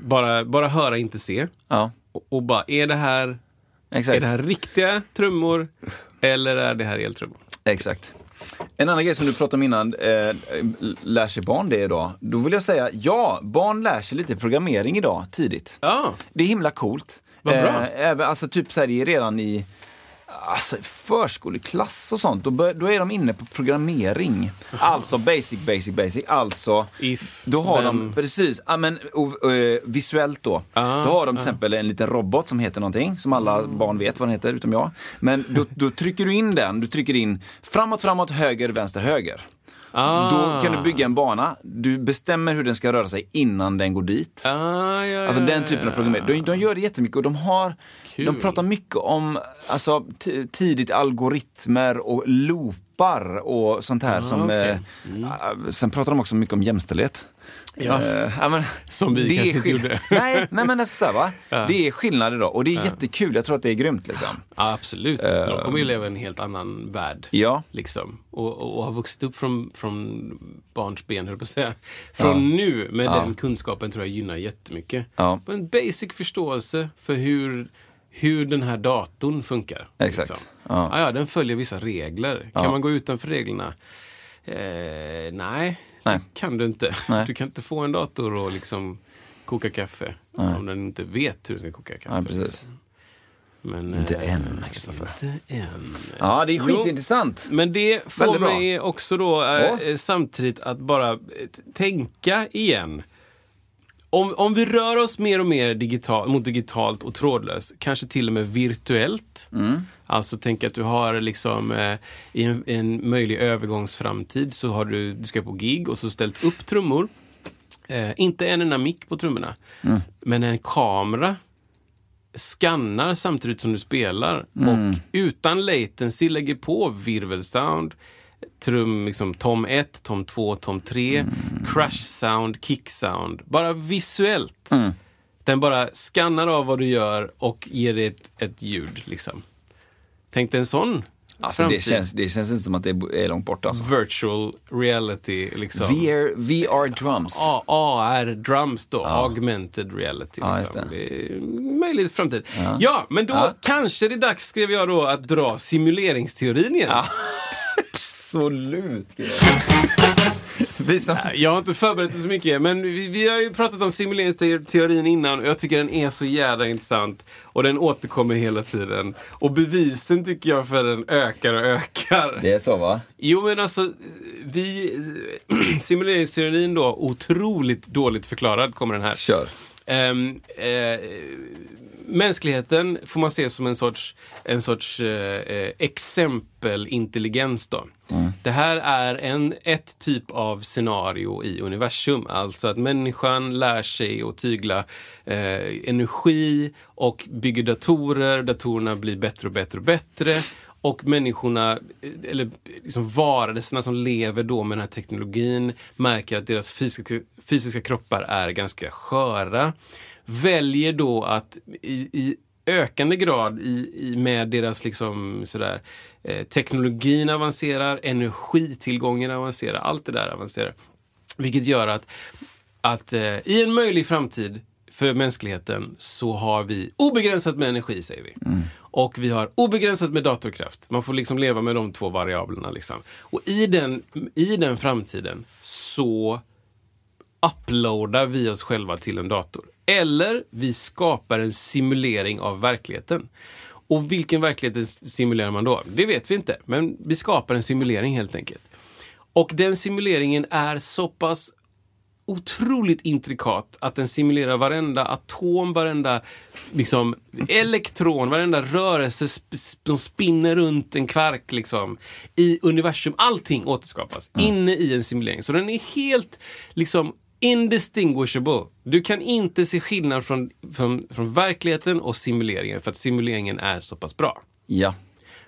S1: bara, bara höra, inte se.
S2: ja.
S1: Och, och bara, är det här,
S2: Exakt.
S1: är det här riktiga trummor eller är det här eltrummor?
S2: Exakt. En annan grej som du pratade om innan, eh, lär sig barn det idag? Då vill jag säga, ja, barn lär sig lite programmering idag, tidigt.
S1: Ja,
S2: Det är himla coolt.
S1: Vad bra.
S2: Eh, även, alltså typ så här, det är redan i alltså, förskoleklass och sånt, då, bör, då är de inne på programmering. Alltså basic, basic, basic. Alltså,
S1: If,
S2: då har
S1: then.
S2: de, precis, ja, men, och, eh, visuellt då.
S1: Ah,
S2: då har de till exempel en liten robot som heter någonting, som alla
S1: Mm.
S2: barn vet vad den heter, utom jag. Men då, då trycker du in den, du trycker in framåt, framåt, höger, vänster, höger. Då
S1: Ah.
S2: kan du bygga en bana. Du bestämmer hur den ska röra sig innan den går dit.
S1: ah, ja,
S2: Alltså
S1: ja,
S2: den
S1: ja,
S2: typen av
S1: ja.
S2: programmering. De, de gör det jättemycket och de har, de
S1: Kul.
S2: pratar mycket om alltså, ti- tidigt algoritmer och loopar och sånt här som,
S1: okej. Mm.
S2: eh, ah, sen pratar de också mycket om jämställdhet.
S1: Ja.
S2: Eh, ja, men,
S1: Som vi
S2: det är
S1: kanske inte
S2: skill-
S1: gjorde.
S2: Nej, nej men nästan så här, va? Det är skillnader då och det är jättekul, jag tror att det är grymt liksom.
S1: Absolut. De kommer ju leva i en helt annan värld.
S2: Eh. Ja.
S1: Liksom. Och, och, och har vuxit upp från, från barns ben, höll jag på att säga. Från nu, med den kunskapen, tror jag gynnar jättemycket.
S2: Ja.
S1: Och En basic förståelse för hur, hur den här datorn funkar.
S2: Exakt. Ja.
S1: Ah, ja, den följer vissa regler. Kan
S2: Ja.
S1: man gå utanför reglerna? Eh, nej,
S2: Nej.
S1: det kan du inte.
S2: Nej.
S1: Du kan inte få en dator och liksom koka kaffe om den inte vet hur den ska koka kaffe.
S2: Ja, precis.
S1: liksom. Men,
S2: Inte
S1: eh,
S2: än, Kristoffer.
S1: Inte än.
S2: Ja, det är
S1: Jo.
S2: skitintressant.
S1: Men det får
S2: Väldigt bra.
S1: mig också då eh,
S2: Ja.
S1: eh, samtidigt att bara eh, t- tänka igen. om, om vi rör oss mer och mer digital, mot digitalt och trådlöst, kanske till och med virtuellt.
S2: Mm.
S1: Alltså tänk att du har liksom eh, i en, en möjlig övergångsframtid så har du, du ska på gig och så ställt upp trummor. Eh, inte en enda mick på trummorna,
S2: Mm.
S1: men en kamera skannar samtidigt som du spelar
S2: Mm.
S1: och utan latency lägger på virvelsound, trum, liksom, tom 1, tom 2, tom 3,
S2: Mm.
S1: crash sound, kick sound. Bara visuellt.
S2: Mm.
S1: Den bara skannar av vad du gör och ger dig ett, ett ljud. Liksom. Tänk dig en sån
S2: Alltså det
S1: framtid.
S2: känns, det känns inte som att det är långt bort alltså.
S1: Virtual reality. Liksom.
S2: VR, VR drums.
S1: A- AR, drums då, augmented reality.
S2: Ja,
S1: Liksom.
S2: just det.
S1: Det är möjligt framtid. Ja, men då
S2: Ja.
S1: kanske det är dags, skrev jag då, att dra simuleringsteorin igen.
S2: Absolut! Vi som...
S1: Jag har inte förberett det så mycket, men vi, vi har ju pratat om simuleringsteorin innan och jag tycker den är så jävla intressant. Och den återkommer hela tiden. Och bevisen tycker jag för den ökar och ökar.
S2: Det är så va?
S1: Jo men alltså, vi, simuleringsteorin då, otroligt dåligt förklarad kommer den här.
S2: Kör.
S1: Ehm, eh, mänskligheten får man se som en sorts, en sorts eh, eh, exempelintelligens. Då. Det här är en, ett typ av scenario i universum. Alltså att människan lär sig att tygla eh, energi och bygger datorer. Datorerna blir bättre och bättre och bättre. Och människorna, eh, eller liksom varelserna som lever då med den här teknologin märker att deras fysiska, fysiska kroppar är ganska sköra. Väljer då att i, i ökande grad i, i med deras liksom sådär, eh, teknologin avancerar, energitillgången avancerar, allt det där avancerar. Vilket gör att, att eh, i en möjlig framtid för mänskligheten så har vi obegränsat med energi, säger vi. Och vi har obegränsat med datorkraft. Man får liksom leva med de två variablerna. Liksom. Och i den, i den framtiden så uploadar vi oss själva till en dator. Eller vi skapar en simulering av verkligheten. Och vilken verklighet simulerar man då? Det vet vi inte, men vi skapar en simulering helt enkelt. Och den simuleringen är så pass otroligt intrikat att den simulerar varenda atom, varenda liksom, elektron, varenda rörelse sp- sp- som spinner runt en kvark liksom, i universum. Allting återskapas inne i en simulering. Så den är helt liksom indistinguishable. Du kan inte se skillnad från, från, från verkligheten och simuleringen för att simuleringen är så pass bra.
S2: Ja.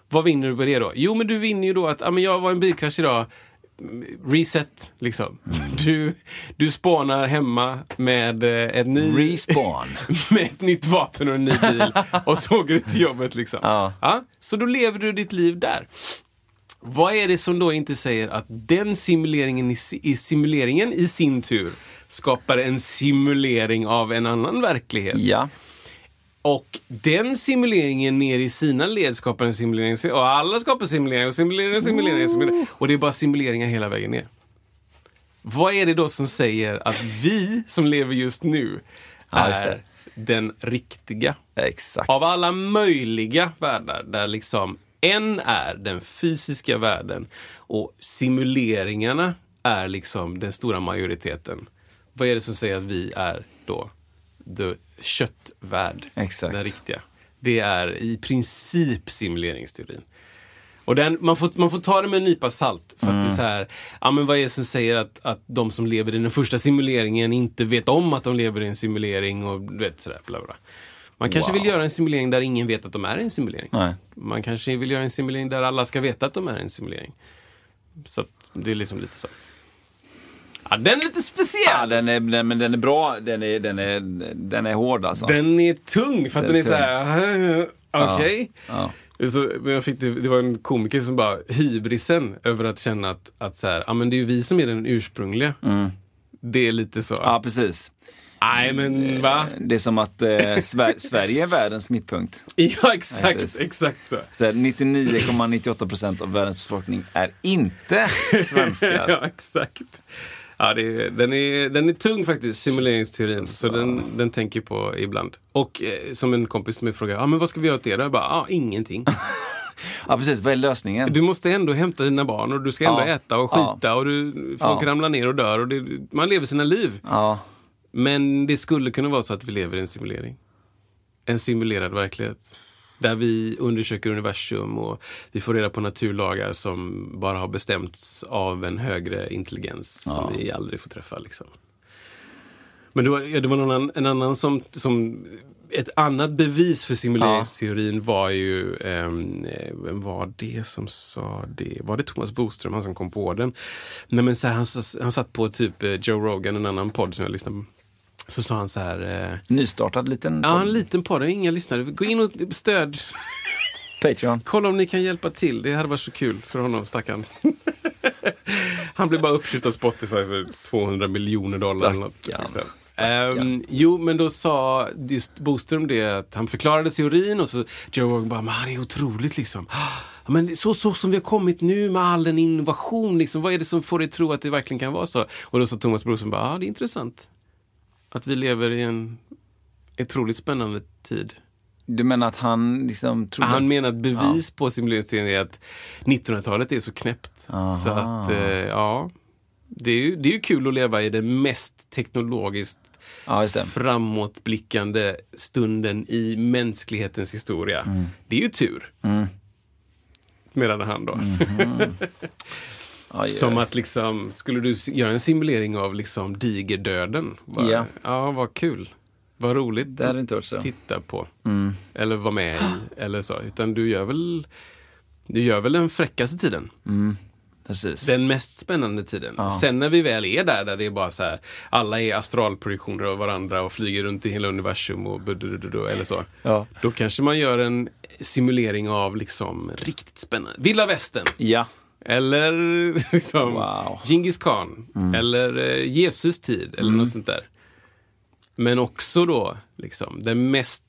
S1: Vad vinner du på det då? Jo, men du vinner ju då att ah, men jag var i en bilkrasch idag. Reset, liksom.
S2: Mm.
S1: Du, du spanar hemma med, eh, ett ny,
S2: Respawn.
S1: med ett nytt vapen och en ny bil och så åker du till jobbet. Liksom.
S2: Ja.
S1: Ja, så då lever du ditt liv där. Vad är det som då inte säger att den simuleringen i, si- i simuleringen i sin tur skapar en simulering av en annan verklighet?
S2: Ja.
S1: Och den simuleringen ner i sina led skapar en simulering. si- Och alla skapar simulering och simulering och simulering. Och, simulering. och det är bara simuleringar hela vägen ner. Vad är det då som säger att vi som lever just nu
S2: Ja, just det.
S1: är den riktiga?
S2: Exakt.
S1: Av alla möjliga världar där liksom en är den fysiska världen och simuleringarna är liksom den stora majoriteten. Vad är det som säger att vi är då the köttvärld?
S2: Exakt.
S1: Den riktiga. Det är i princip simuleringsteorin. Och den, man, får, man får ta det med en nypa salt. För att det är så här, ja, men vad är det som säger att, att de som lever i den första simuleringen inte vet om att de lever i en simulering och du vet sådär. Bla bla. Man kanske vill göra en simulering där ingen vet att de är i en simulering.
S2: Nej.
S1: Man kanske vill göra en simulering där alla ska veta att de är i en simulering. Så att det är liksom lite så. Ja, den är lite
S2: Ja,
S1: speciell!
S2: den är, den, men den är bra. Den är, den är, den är hård alltså.
S1: Den är tung för att den
S2: Den
S1: är,
S2: är
S1: så här. okej.
S2: Ja.
S1: Så, men jag fick det, det var en komiker som bara, hybrisen över att känna att, att så här, ja men det är ju vi som är den ursprungliga. Det är lite så.
S2: Mm. ja, precis.
S1: Nej men va?
S2: Det är som att eh, Sver Sverige är världens mittpunkt.
S1: Ja exakt,
S2: Precis.
S1: exakt så.
S2: Så här, 99,98% av världens befolkning är inte svenskar.
S1: ja exakt. Ja, det är, den, är, den är tung faktiskt, simuleringsteorin. Så den, den tänker jag på ibland. Och eh, som en kompis som mig frågade, ah, men vad ska vi göra åt det då? Jag bara, ah, ingenting.
S2: Ja, precis. Vad är lösningen?
S1: Du måste ändå hämta dina barn och du ska ändå
S2: Ja.
S1: äta och
S2: Ja.
S1: skita och du, folk ramlar ner och dör. Och det, man lever sina liv.
S2: Ja,
S1: Men det skulle kunna vara så att vi lever i en simulering. En simulerad verklighet. Där vi undersöker universum och vi får reda på naturlagar som bara har bestämts av en högre intelligens som vi aldrig får träffa. Liksom. Men det var, ja, det var någon annan, en annan som, som... Ett annat bevis för simuleringsteorin var ju... ehm, Eh, vem var det som sa det? Var det Thomas Boström, han som kom på den? Nej, men så här, han, s- han satt på typ eh, Joe Rogan, en annan podd som jag lyssnade på. Så sa han så här... Eh,
S2: Nystartad liten
S1: Ja, en liten podd. Inga lyssnare. Gå in och stöd.
S2: Patreon.
S1: Kolla om ni kan hjälpa till. Det hade varit så kul för honom, stackarn. Han blir bara uppköpt av Spotify för 200 miljoner dollar. eller något,
S2: Stackarn.
S1: liksom. Ehm, jo, men då sa just Boström det att han förklarade teorin och så Joe Rogan bara, men han är otroligt liksom. "Ah, Men så, så som vi har kommit nu med all den innovation, liksom, vad är det som får dig tro att det verkligen kan vara så? Och då sa Thomas Boström bara, ja det är intressant. Att vi lever i en otroligt spännande tid.
S2: Du menar att han liksom trodde...
S1: Han menar att bevis på simuleringsteorin är att 1900-talet är så knäppt. Så att, eh, ja. Det är, ju, det är ju kul att leva i den mest teknologiskt
S2: Ja, just det.
S1: framåtblickande stunden i mänsklighetens historia.
S2: Mm.
S1: Det är ju tur. Medan han då.
S2: Mhm. Aj, aj.
S1: Som att liksom, skulle du s- göra en simulering av liksom digerdöden? Bara,
S2: Ja.
S1: Ja, vad kul. Vad roligt
S2: Det hade inte varit så. Mm.
S1: titta på. Eller vara med i. Eller så. Utan du gör väl du gör väl den fräckaste tiden.
S2: Precis.
S1: Den mest spännande tiden. Sen när vi väl är där, där det är bara så här. Alla är astralprojektioner av varandra och flyger runt i hela universum och budududu, eller så.
S2: Ja.
S1: Då kanske man gör en simulering av liksom riktigt spännande. Vilda västern.
S2: Ja.
S1: Eller liksom
S2: Wow. Mm.
S1: Genghis khan. Eller eh, Jesus tid. Eller något sånt där. Men också då liksom den mest,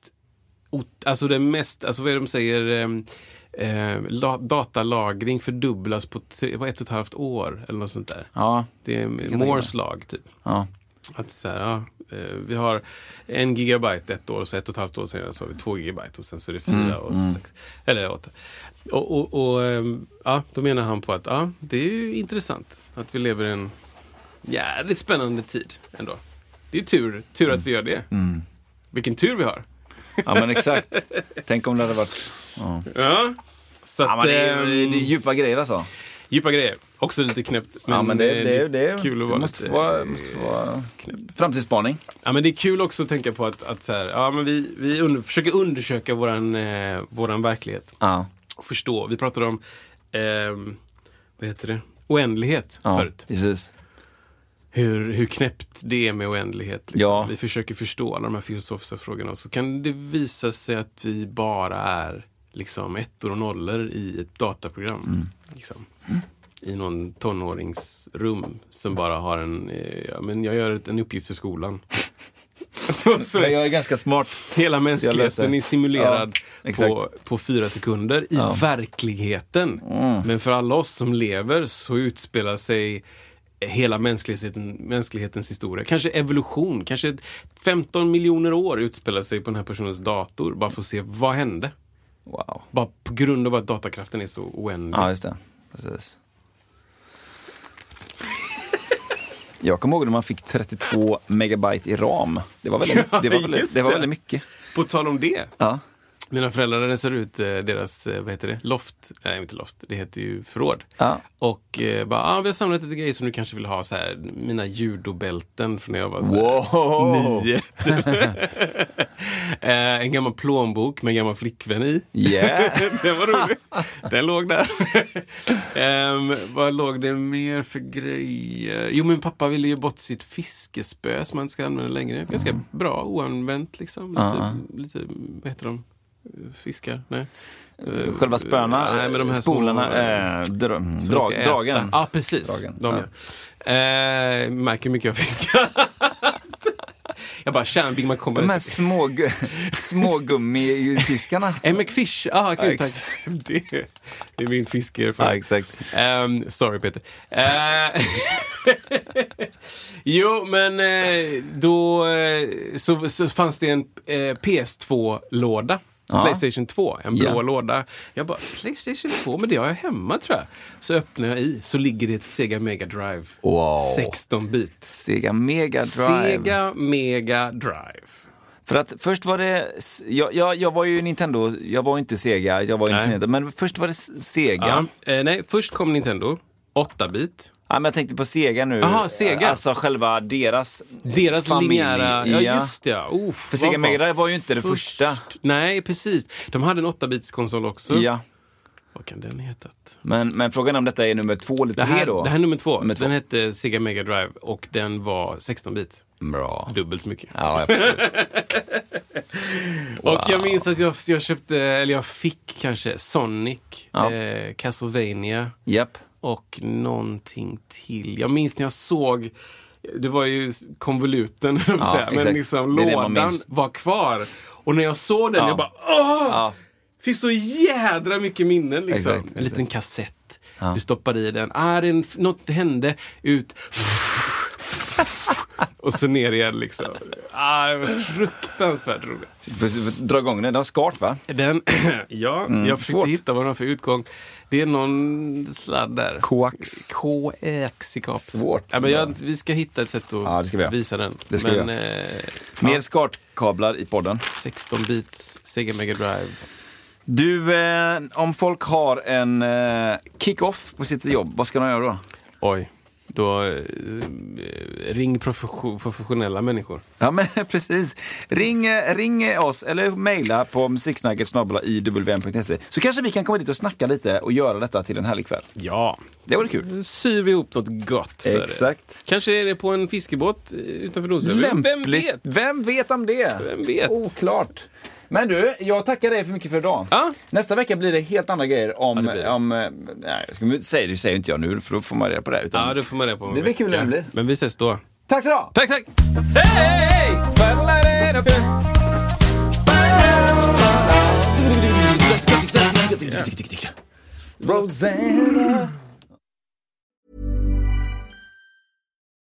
S1: ot- alltså den mest, alltså vad är det de säger, ehm, eh, la, datalagring fördubblas på, tre, på ett och ett halvt år eller något sånt där.
S2: Ja.
S1: Det är
S2: tänka mig.
S1: Moores lag typ.
S2: Ja.
S1: Att så här, ja, eh, vi har en gigabyte ett år, så ett och ett halvt år senare så har vi två gigabyte och sen så är det fyra
S2: Mm,
S1: och sex. Eller åtta. Och, och, och ehm, ja, då menar han på att ja, det är ju intressant att vi lever i en jävligt spännande tid ändå. Det är ju tur, tur att vi gör det.
S2: Mm,
S1: Vilken tur vi har.
S2: ja, men exakt. Tänk om det hade varit...
S1: Ja, så att,
S2: Ja, men det, är, det är
S1: ehm,
S2: djupa grejer alltså.
S1: djupa grejer. Också lite knäppt. Men,
S2: ja, men det,
S1: eh,
S2: det, det, det,
S1: kul att vara
S2: måste
S1: lite...
S2: få vara... Måste få vara... Framtidsspaning.
S1: Ja, men det är kul också att tänka på att, att så här, ja, men vi, vi under, försöker undersöka våran, eh, våran verklighet
S2: Ja.
S1: och förstå. Vi pratade om, ehm, vad heter det, oändlighet
S2: ja.
S1: förut.
S2: Precis.
S1: Hur, hur knäppt det är med oändlighet. Liksom.
S2: Ja.
S1: Vi försöker förstå alla de här filosofiska frågorna och så kan det visa sig att vi bara är liksom ettor och nollor i ett dataprogram.
S2: Mm.
S1: Liksom. I någon tonåringsrum som bara har en, eh, ja, men jag gör ett- en uppgift för skolan. och så
S2: Men jag är ganska smart.
S1: Hela
S2: löser.
S1: mänskligheten är simulerad
S2: Ja, exakt.
S1: på, på fyra sekunder i verkligheten.
S2: Mm.
S1: Men för alla oss som lever så utspelar sig hela mänskligheten, mänsklighetens historia. Kanske evolution, kanske 15 miljoner år utspelar sig på den här personens dator. Bara för att se vad hände.
S2: Wow.
S1: Bara på grund av att datakraften är så oändlig.
S2: Ja, just det. Precis. Jag kommer ihåg när man fick 32 megabyte i RAM. Det var väldigt, det var väldigt,
S1: just
S2: det var
S1: det.
S2: väldigt mycket.
S1: På tal om det.
S2: Ja.
S1: Mina föräldrar rensade ut eh, deras, eh, vad heter det, loft. Nej, inte loft. Det heter ju förråd.
S2: Ja.
S1: Och eh, bara, ah, vi har samlat lite grejer som du kanske vill ha. Så här, mina judobälten från när jag var så här,
S2: Wow!
S1: nio. typ. eh, en gammal plånbok med en gammal flickvän i.
S2: Yeah!
S1: Den var rolig. Den låg där. Ehm, vad låg det mer för grejer? Jo, min pappa ville ge bort sitt fiskespö som man inte ska använda längre. Ganska
S2: Mm.
S1: bra, oanvänt liksom. Lite, lite vad heter de? Fiskar? Nej. Eh,
S2: Själva spöna,
S1: nej, men de här
S2: spolarna,
S1: små,
S2: eh, dra,
S1: som man
S2: drag,
S1: ska äta.
S2: dragen.
S1: Ja, precis.
S2: Dragen,
S1: De,
S2: ja.
S1: ja. Eh, märker hur mycket jag fiskar. jag bara, tjena Big Mac kommer.
S2: De här små, smågummifiskarna.
S1: Eh, McFish, ah,
S2: Ja,
S1: kul, tack.
S2: ex-
S1: Det, det är min fiskeerfarenhet.
S2: exakt.
S1: Ehm, sorry Peter. Eh, jo, men eh, då eh, så, så fanns det en eh, PS2-låda
S2: Ja.
S1: Playstation 2, en blå
S2: Ja.
S1: låda. Jag bara, Playstation 2, men det har jag hemma tror jag. Så öppnar jag i, så ligger det ett Sega Mega Drive.
S2: Wow.
S1: 16 bit.
S2: Sega Mega Drive.
S1: Sega Mega Drive.
S2: För att först var det, jag, jag, jag var ju Nintendo, jag var ju inte Sega, jag var ju
S1: Nej.
S2: Nintendo, men först var det Sega.
S1: Ja.
S2: Ja.
S1: Eh, nej, först kom Nintendo, 8-bit.
S2: men jag tänkte på Sega nu.
S1: Aha, Sega.
S2: Alltså själva deras
S1: Deras
S2: familj.
S1: linjära... Ja, just det. ja. Uff,
S2: För Sega
S1: vad
S2: Mega Drive var ju inte det första.
S1: Nej, precis. De hade en 8-bitskonsol också.
S2: Ja.
S1: Vad kan den hetat?
S2: Men, men frågan är om detta är nummer två eller
S1: Det
S2: tre
S1: här,
S2: då?
S1: det här är nummer två.
S2: Nummer två.
S1: Den hette Sega Mega Drive och den var 16-bit.
S2: Bra.
S1: Dubbelt så mycket.
S2: Ja, absolut.
S1: Och jag minns att jag, jag köpte, eller jag fick kanske, Sonic,
S2: Ja.
S1: eh, Castlevania
S2: Japp.
S1: och någonting till. Jag minns när jag såg det var ju s- konvoluten, höll jag på att
S2: Ja,
S1: säga, men
S2: exakt.
S1: liksom,
S2: Det är det man
S1: lådan
S2: minns.
S1: var kvar. Och när jag såg den,
S2: Ja.
S1: jag bara åh!
S2: Ja.
S1: finns så jädra mycket minnen. Liksom.
S2: Exakt,
S1: en
S2: exakt.
S1: liten kassett. Du stoppar i den. Ah, det är en, f- något hände. Ut. Och så ner igen liksom. Ah, det var fruktansvärt roligt.
S2: Får- får Dra igång den, den har skart va?
S1: Den, ja, jag försökte
S2: Mm. svårt.
S1: hitta vad den har för utgång. Det är någon sladd där.
S2: Koax.
S1: KX i kapseln.
S2: Svårt.
S1: Ja, men jag, vi ska hitta ett sätt att
S2: Ja, det ska vi göra.
S1: visa den.
S2: Det ska vi
S1: men eh,
S2: Mer
S1: ja,
S2: skartkablar i podden.
S1: 16 bits Sega Mega Drive.
S2: Du, eh, om folk har en eh, kick-off på sitt jobb, vad ska de göra då?
S1: Oj. Då eh, ring profession- professionella människor.
S2: Ja, men precis. Ring, eh, ring oss eller mejla på musiksnacket.iwm.se så kanske vi kan komma dit och snacka lite och göra detta till en härlig kväll.
S1: Ja.
S2: Det vore kul.
S1: Nu syr vi ihop något gott för
S2: Exakt.
S1: er. Kanske är det på en fiskebåt eh, utanför Rosevik. Vem
S2: Lämpligt. Oh.
S1: vet?
S2: Vem vet om det?
S1: Vem vet?
S2: Oklart. Men du, jag tackar dig för mycket för idag.
S1: Ja.
S2: Nästa vecka blir det helt andra grejer om...
S1: det blir det.
S2: om eh, nej, jag ska, det säger, det säger inte jag nu, för då får man reda på det. här, Utan,
S1: Ja, det får man reda på. om
S2: Det
S1: en
S2: blir kul
S1: vecka.
S2: nämligen.
S1: Men vi ses då.
S2: Tack så du ha!
S1: Tack, tack!
S2: Hej! Rosanna.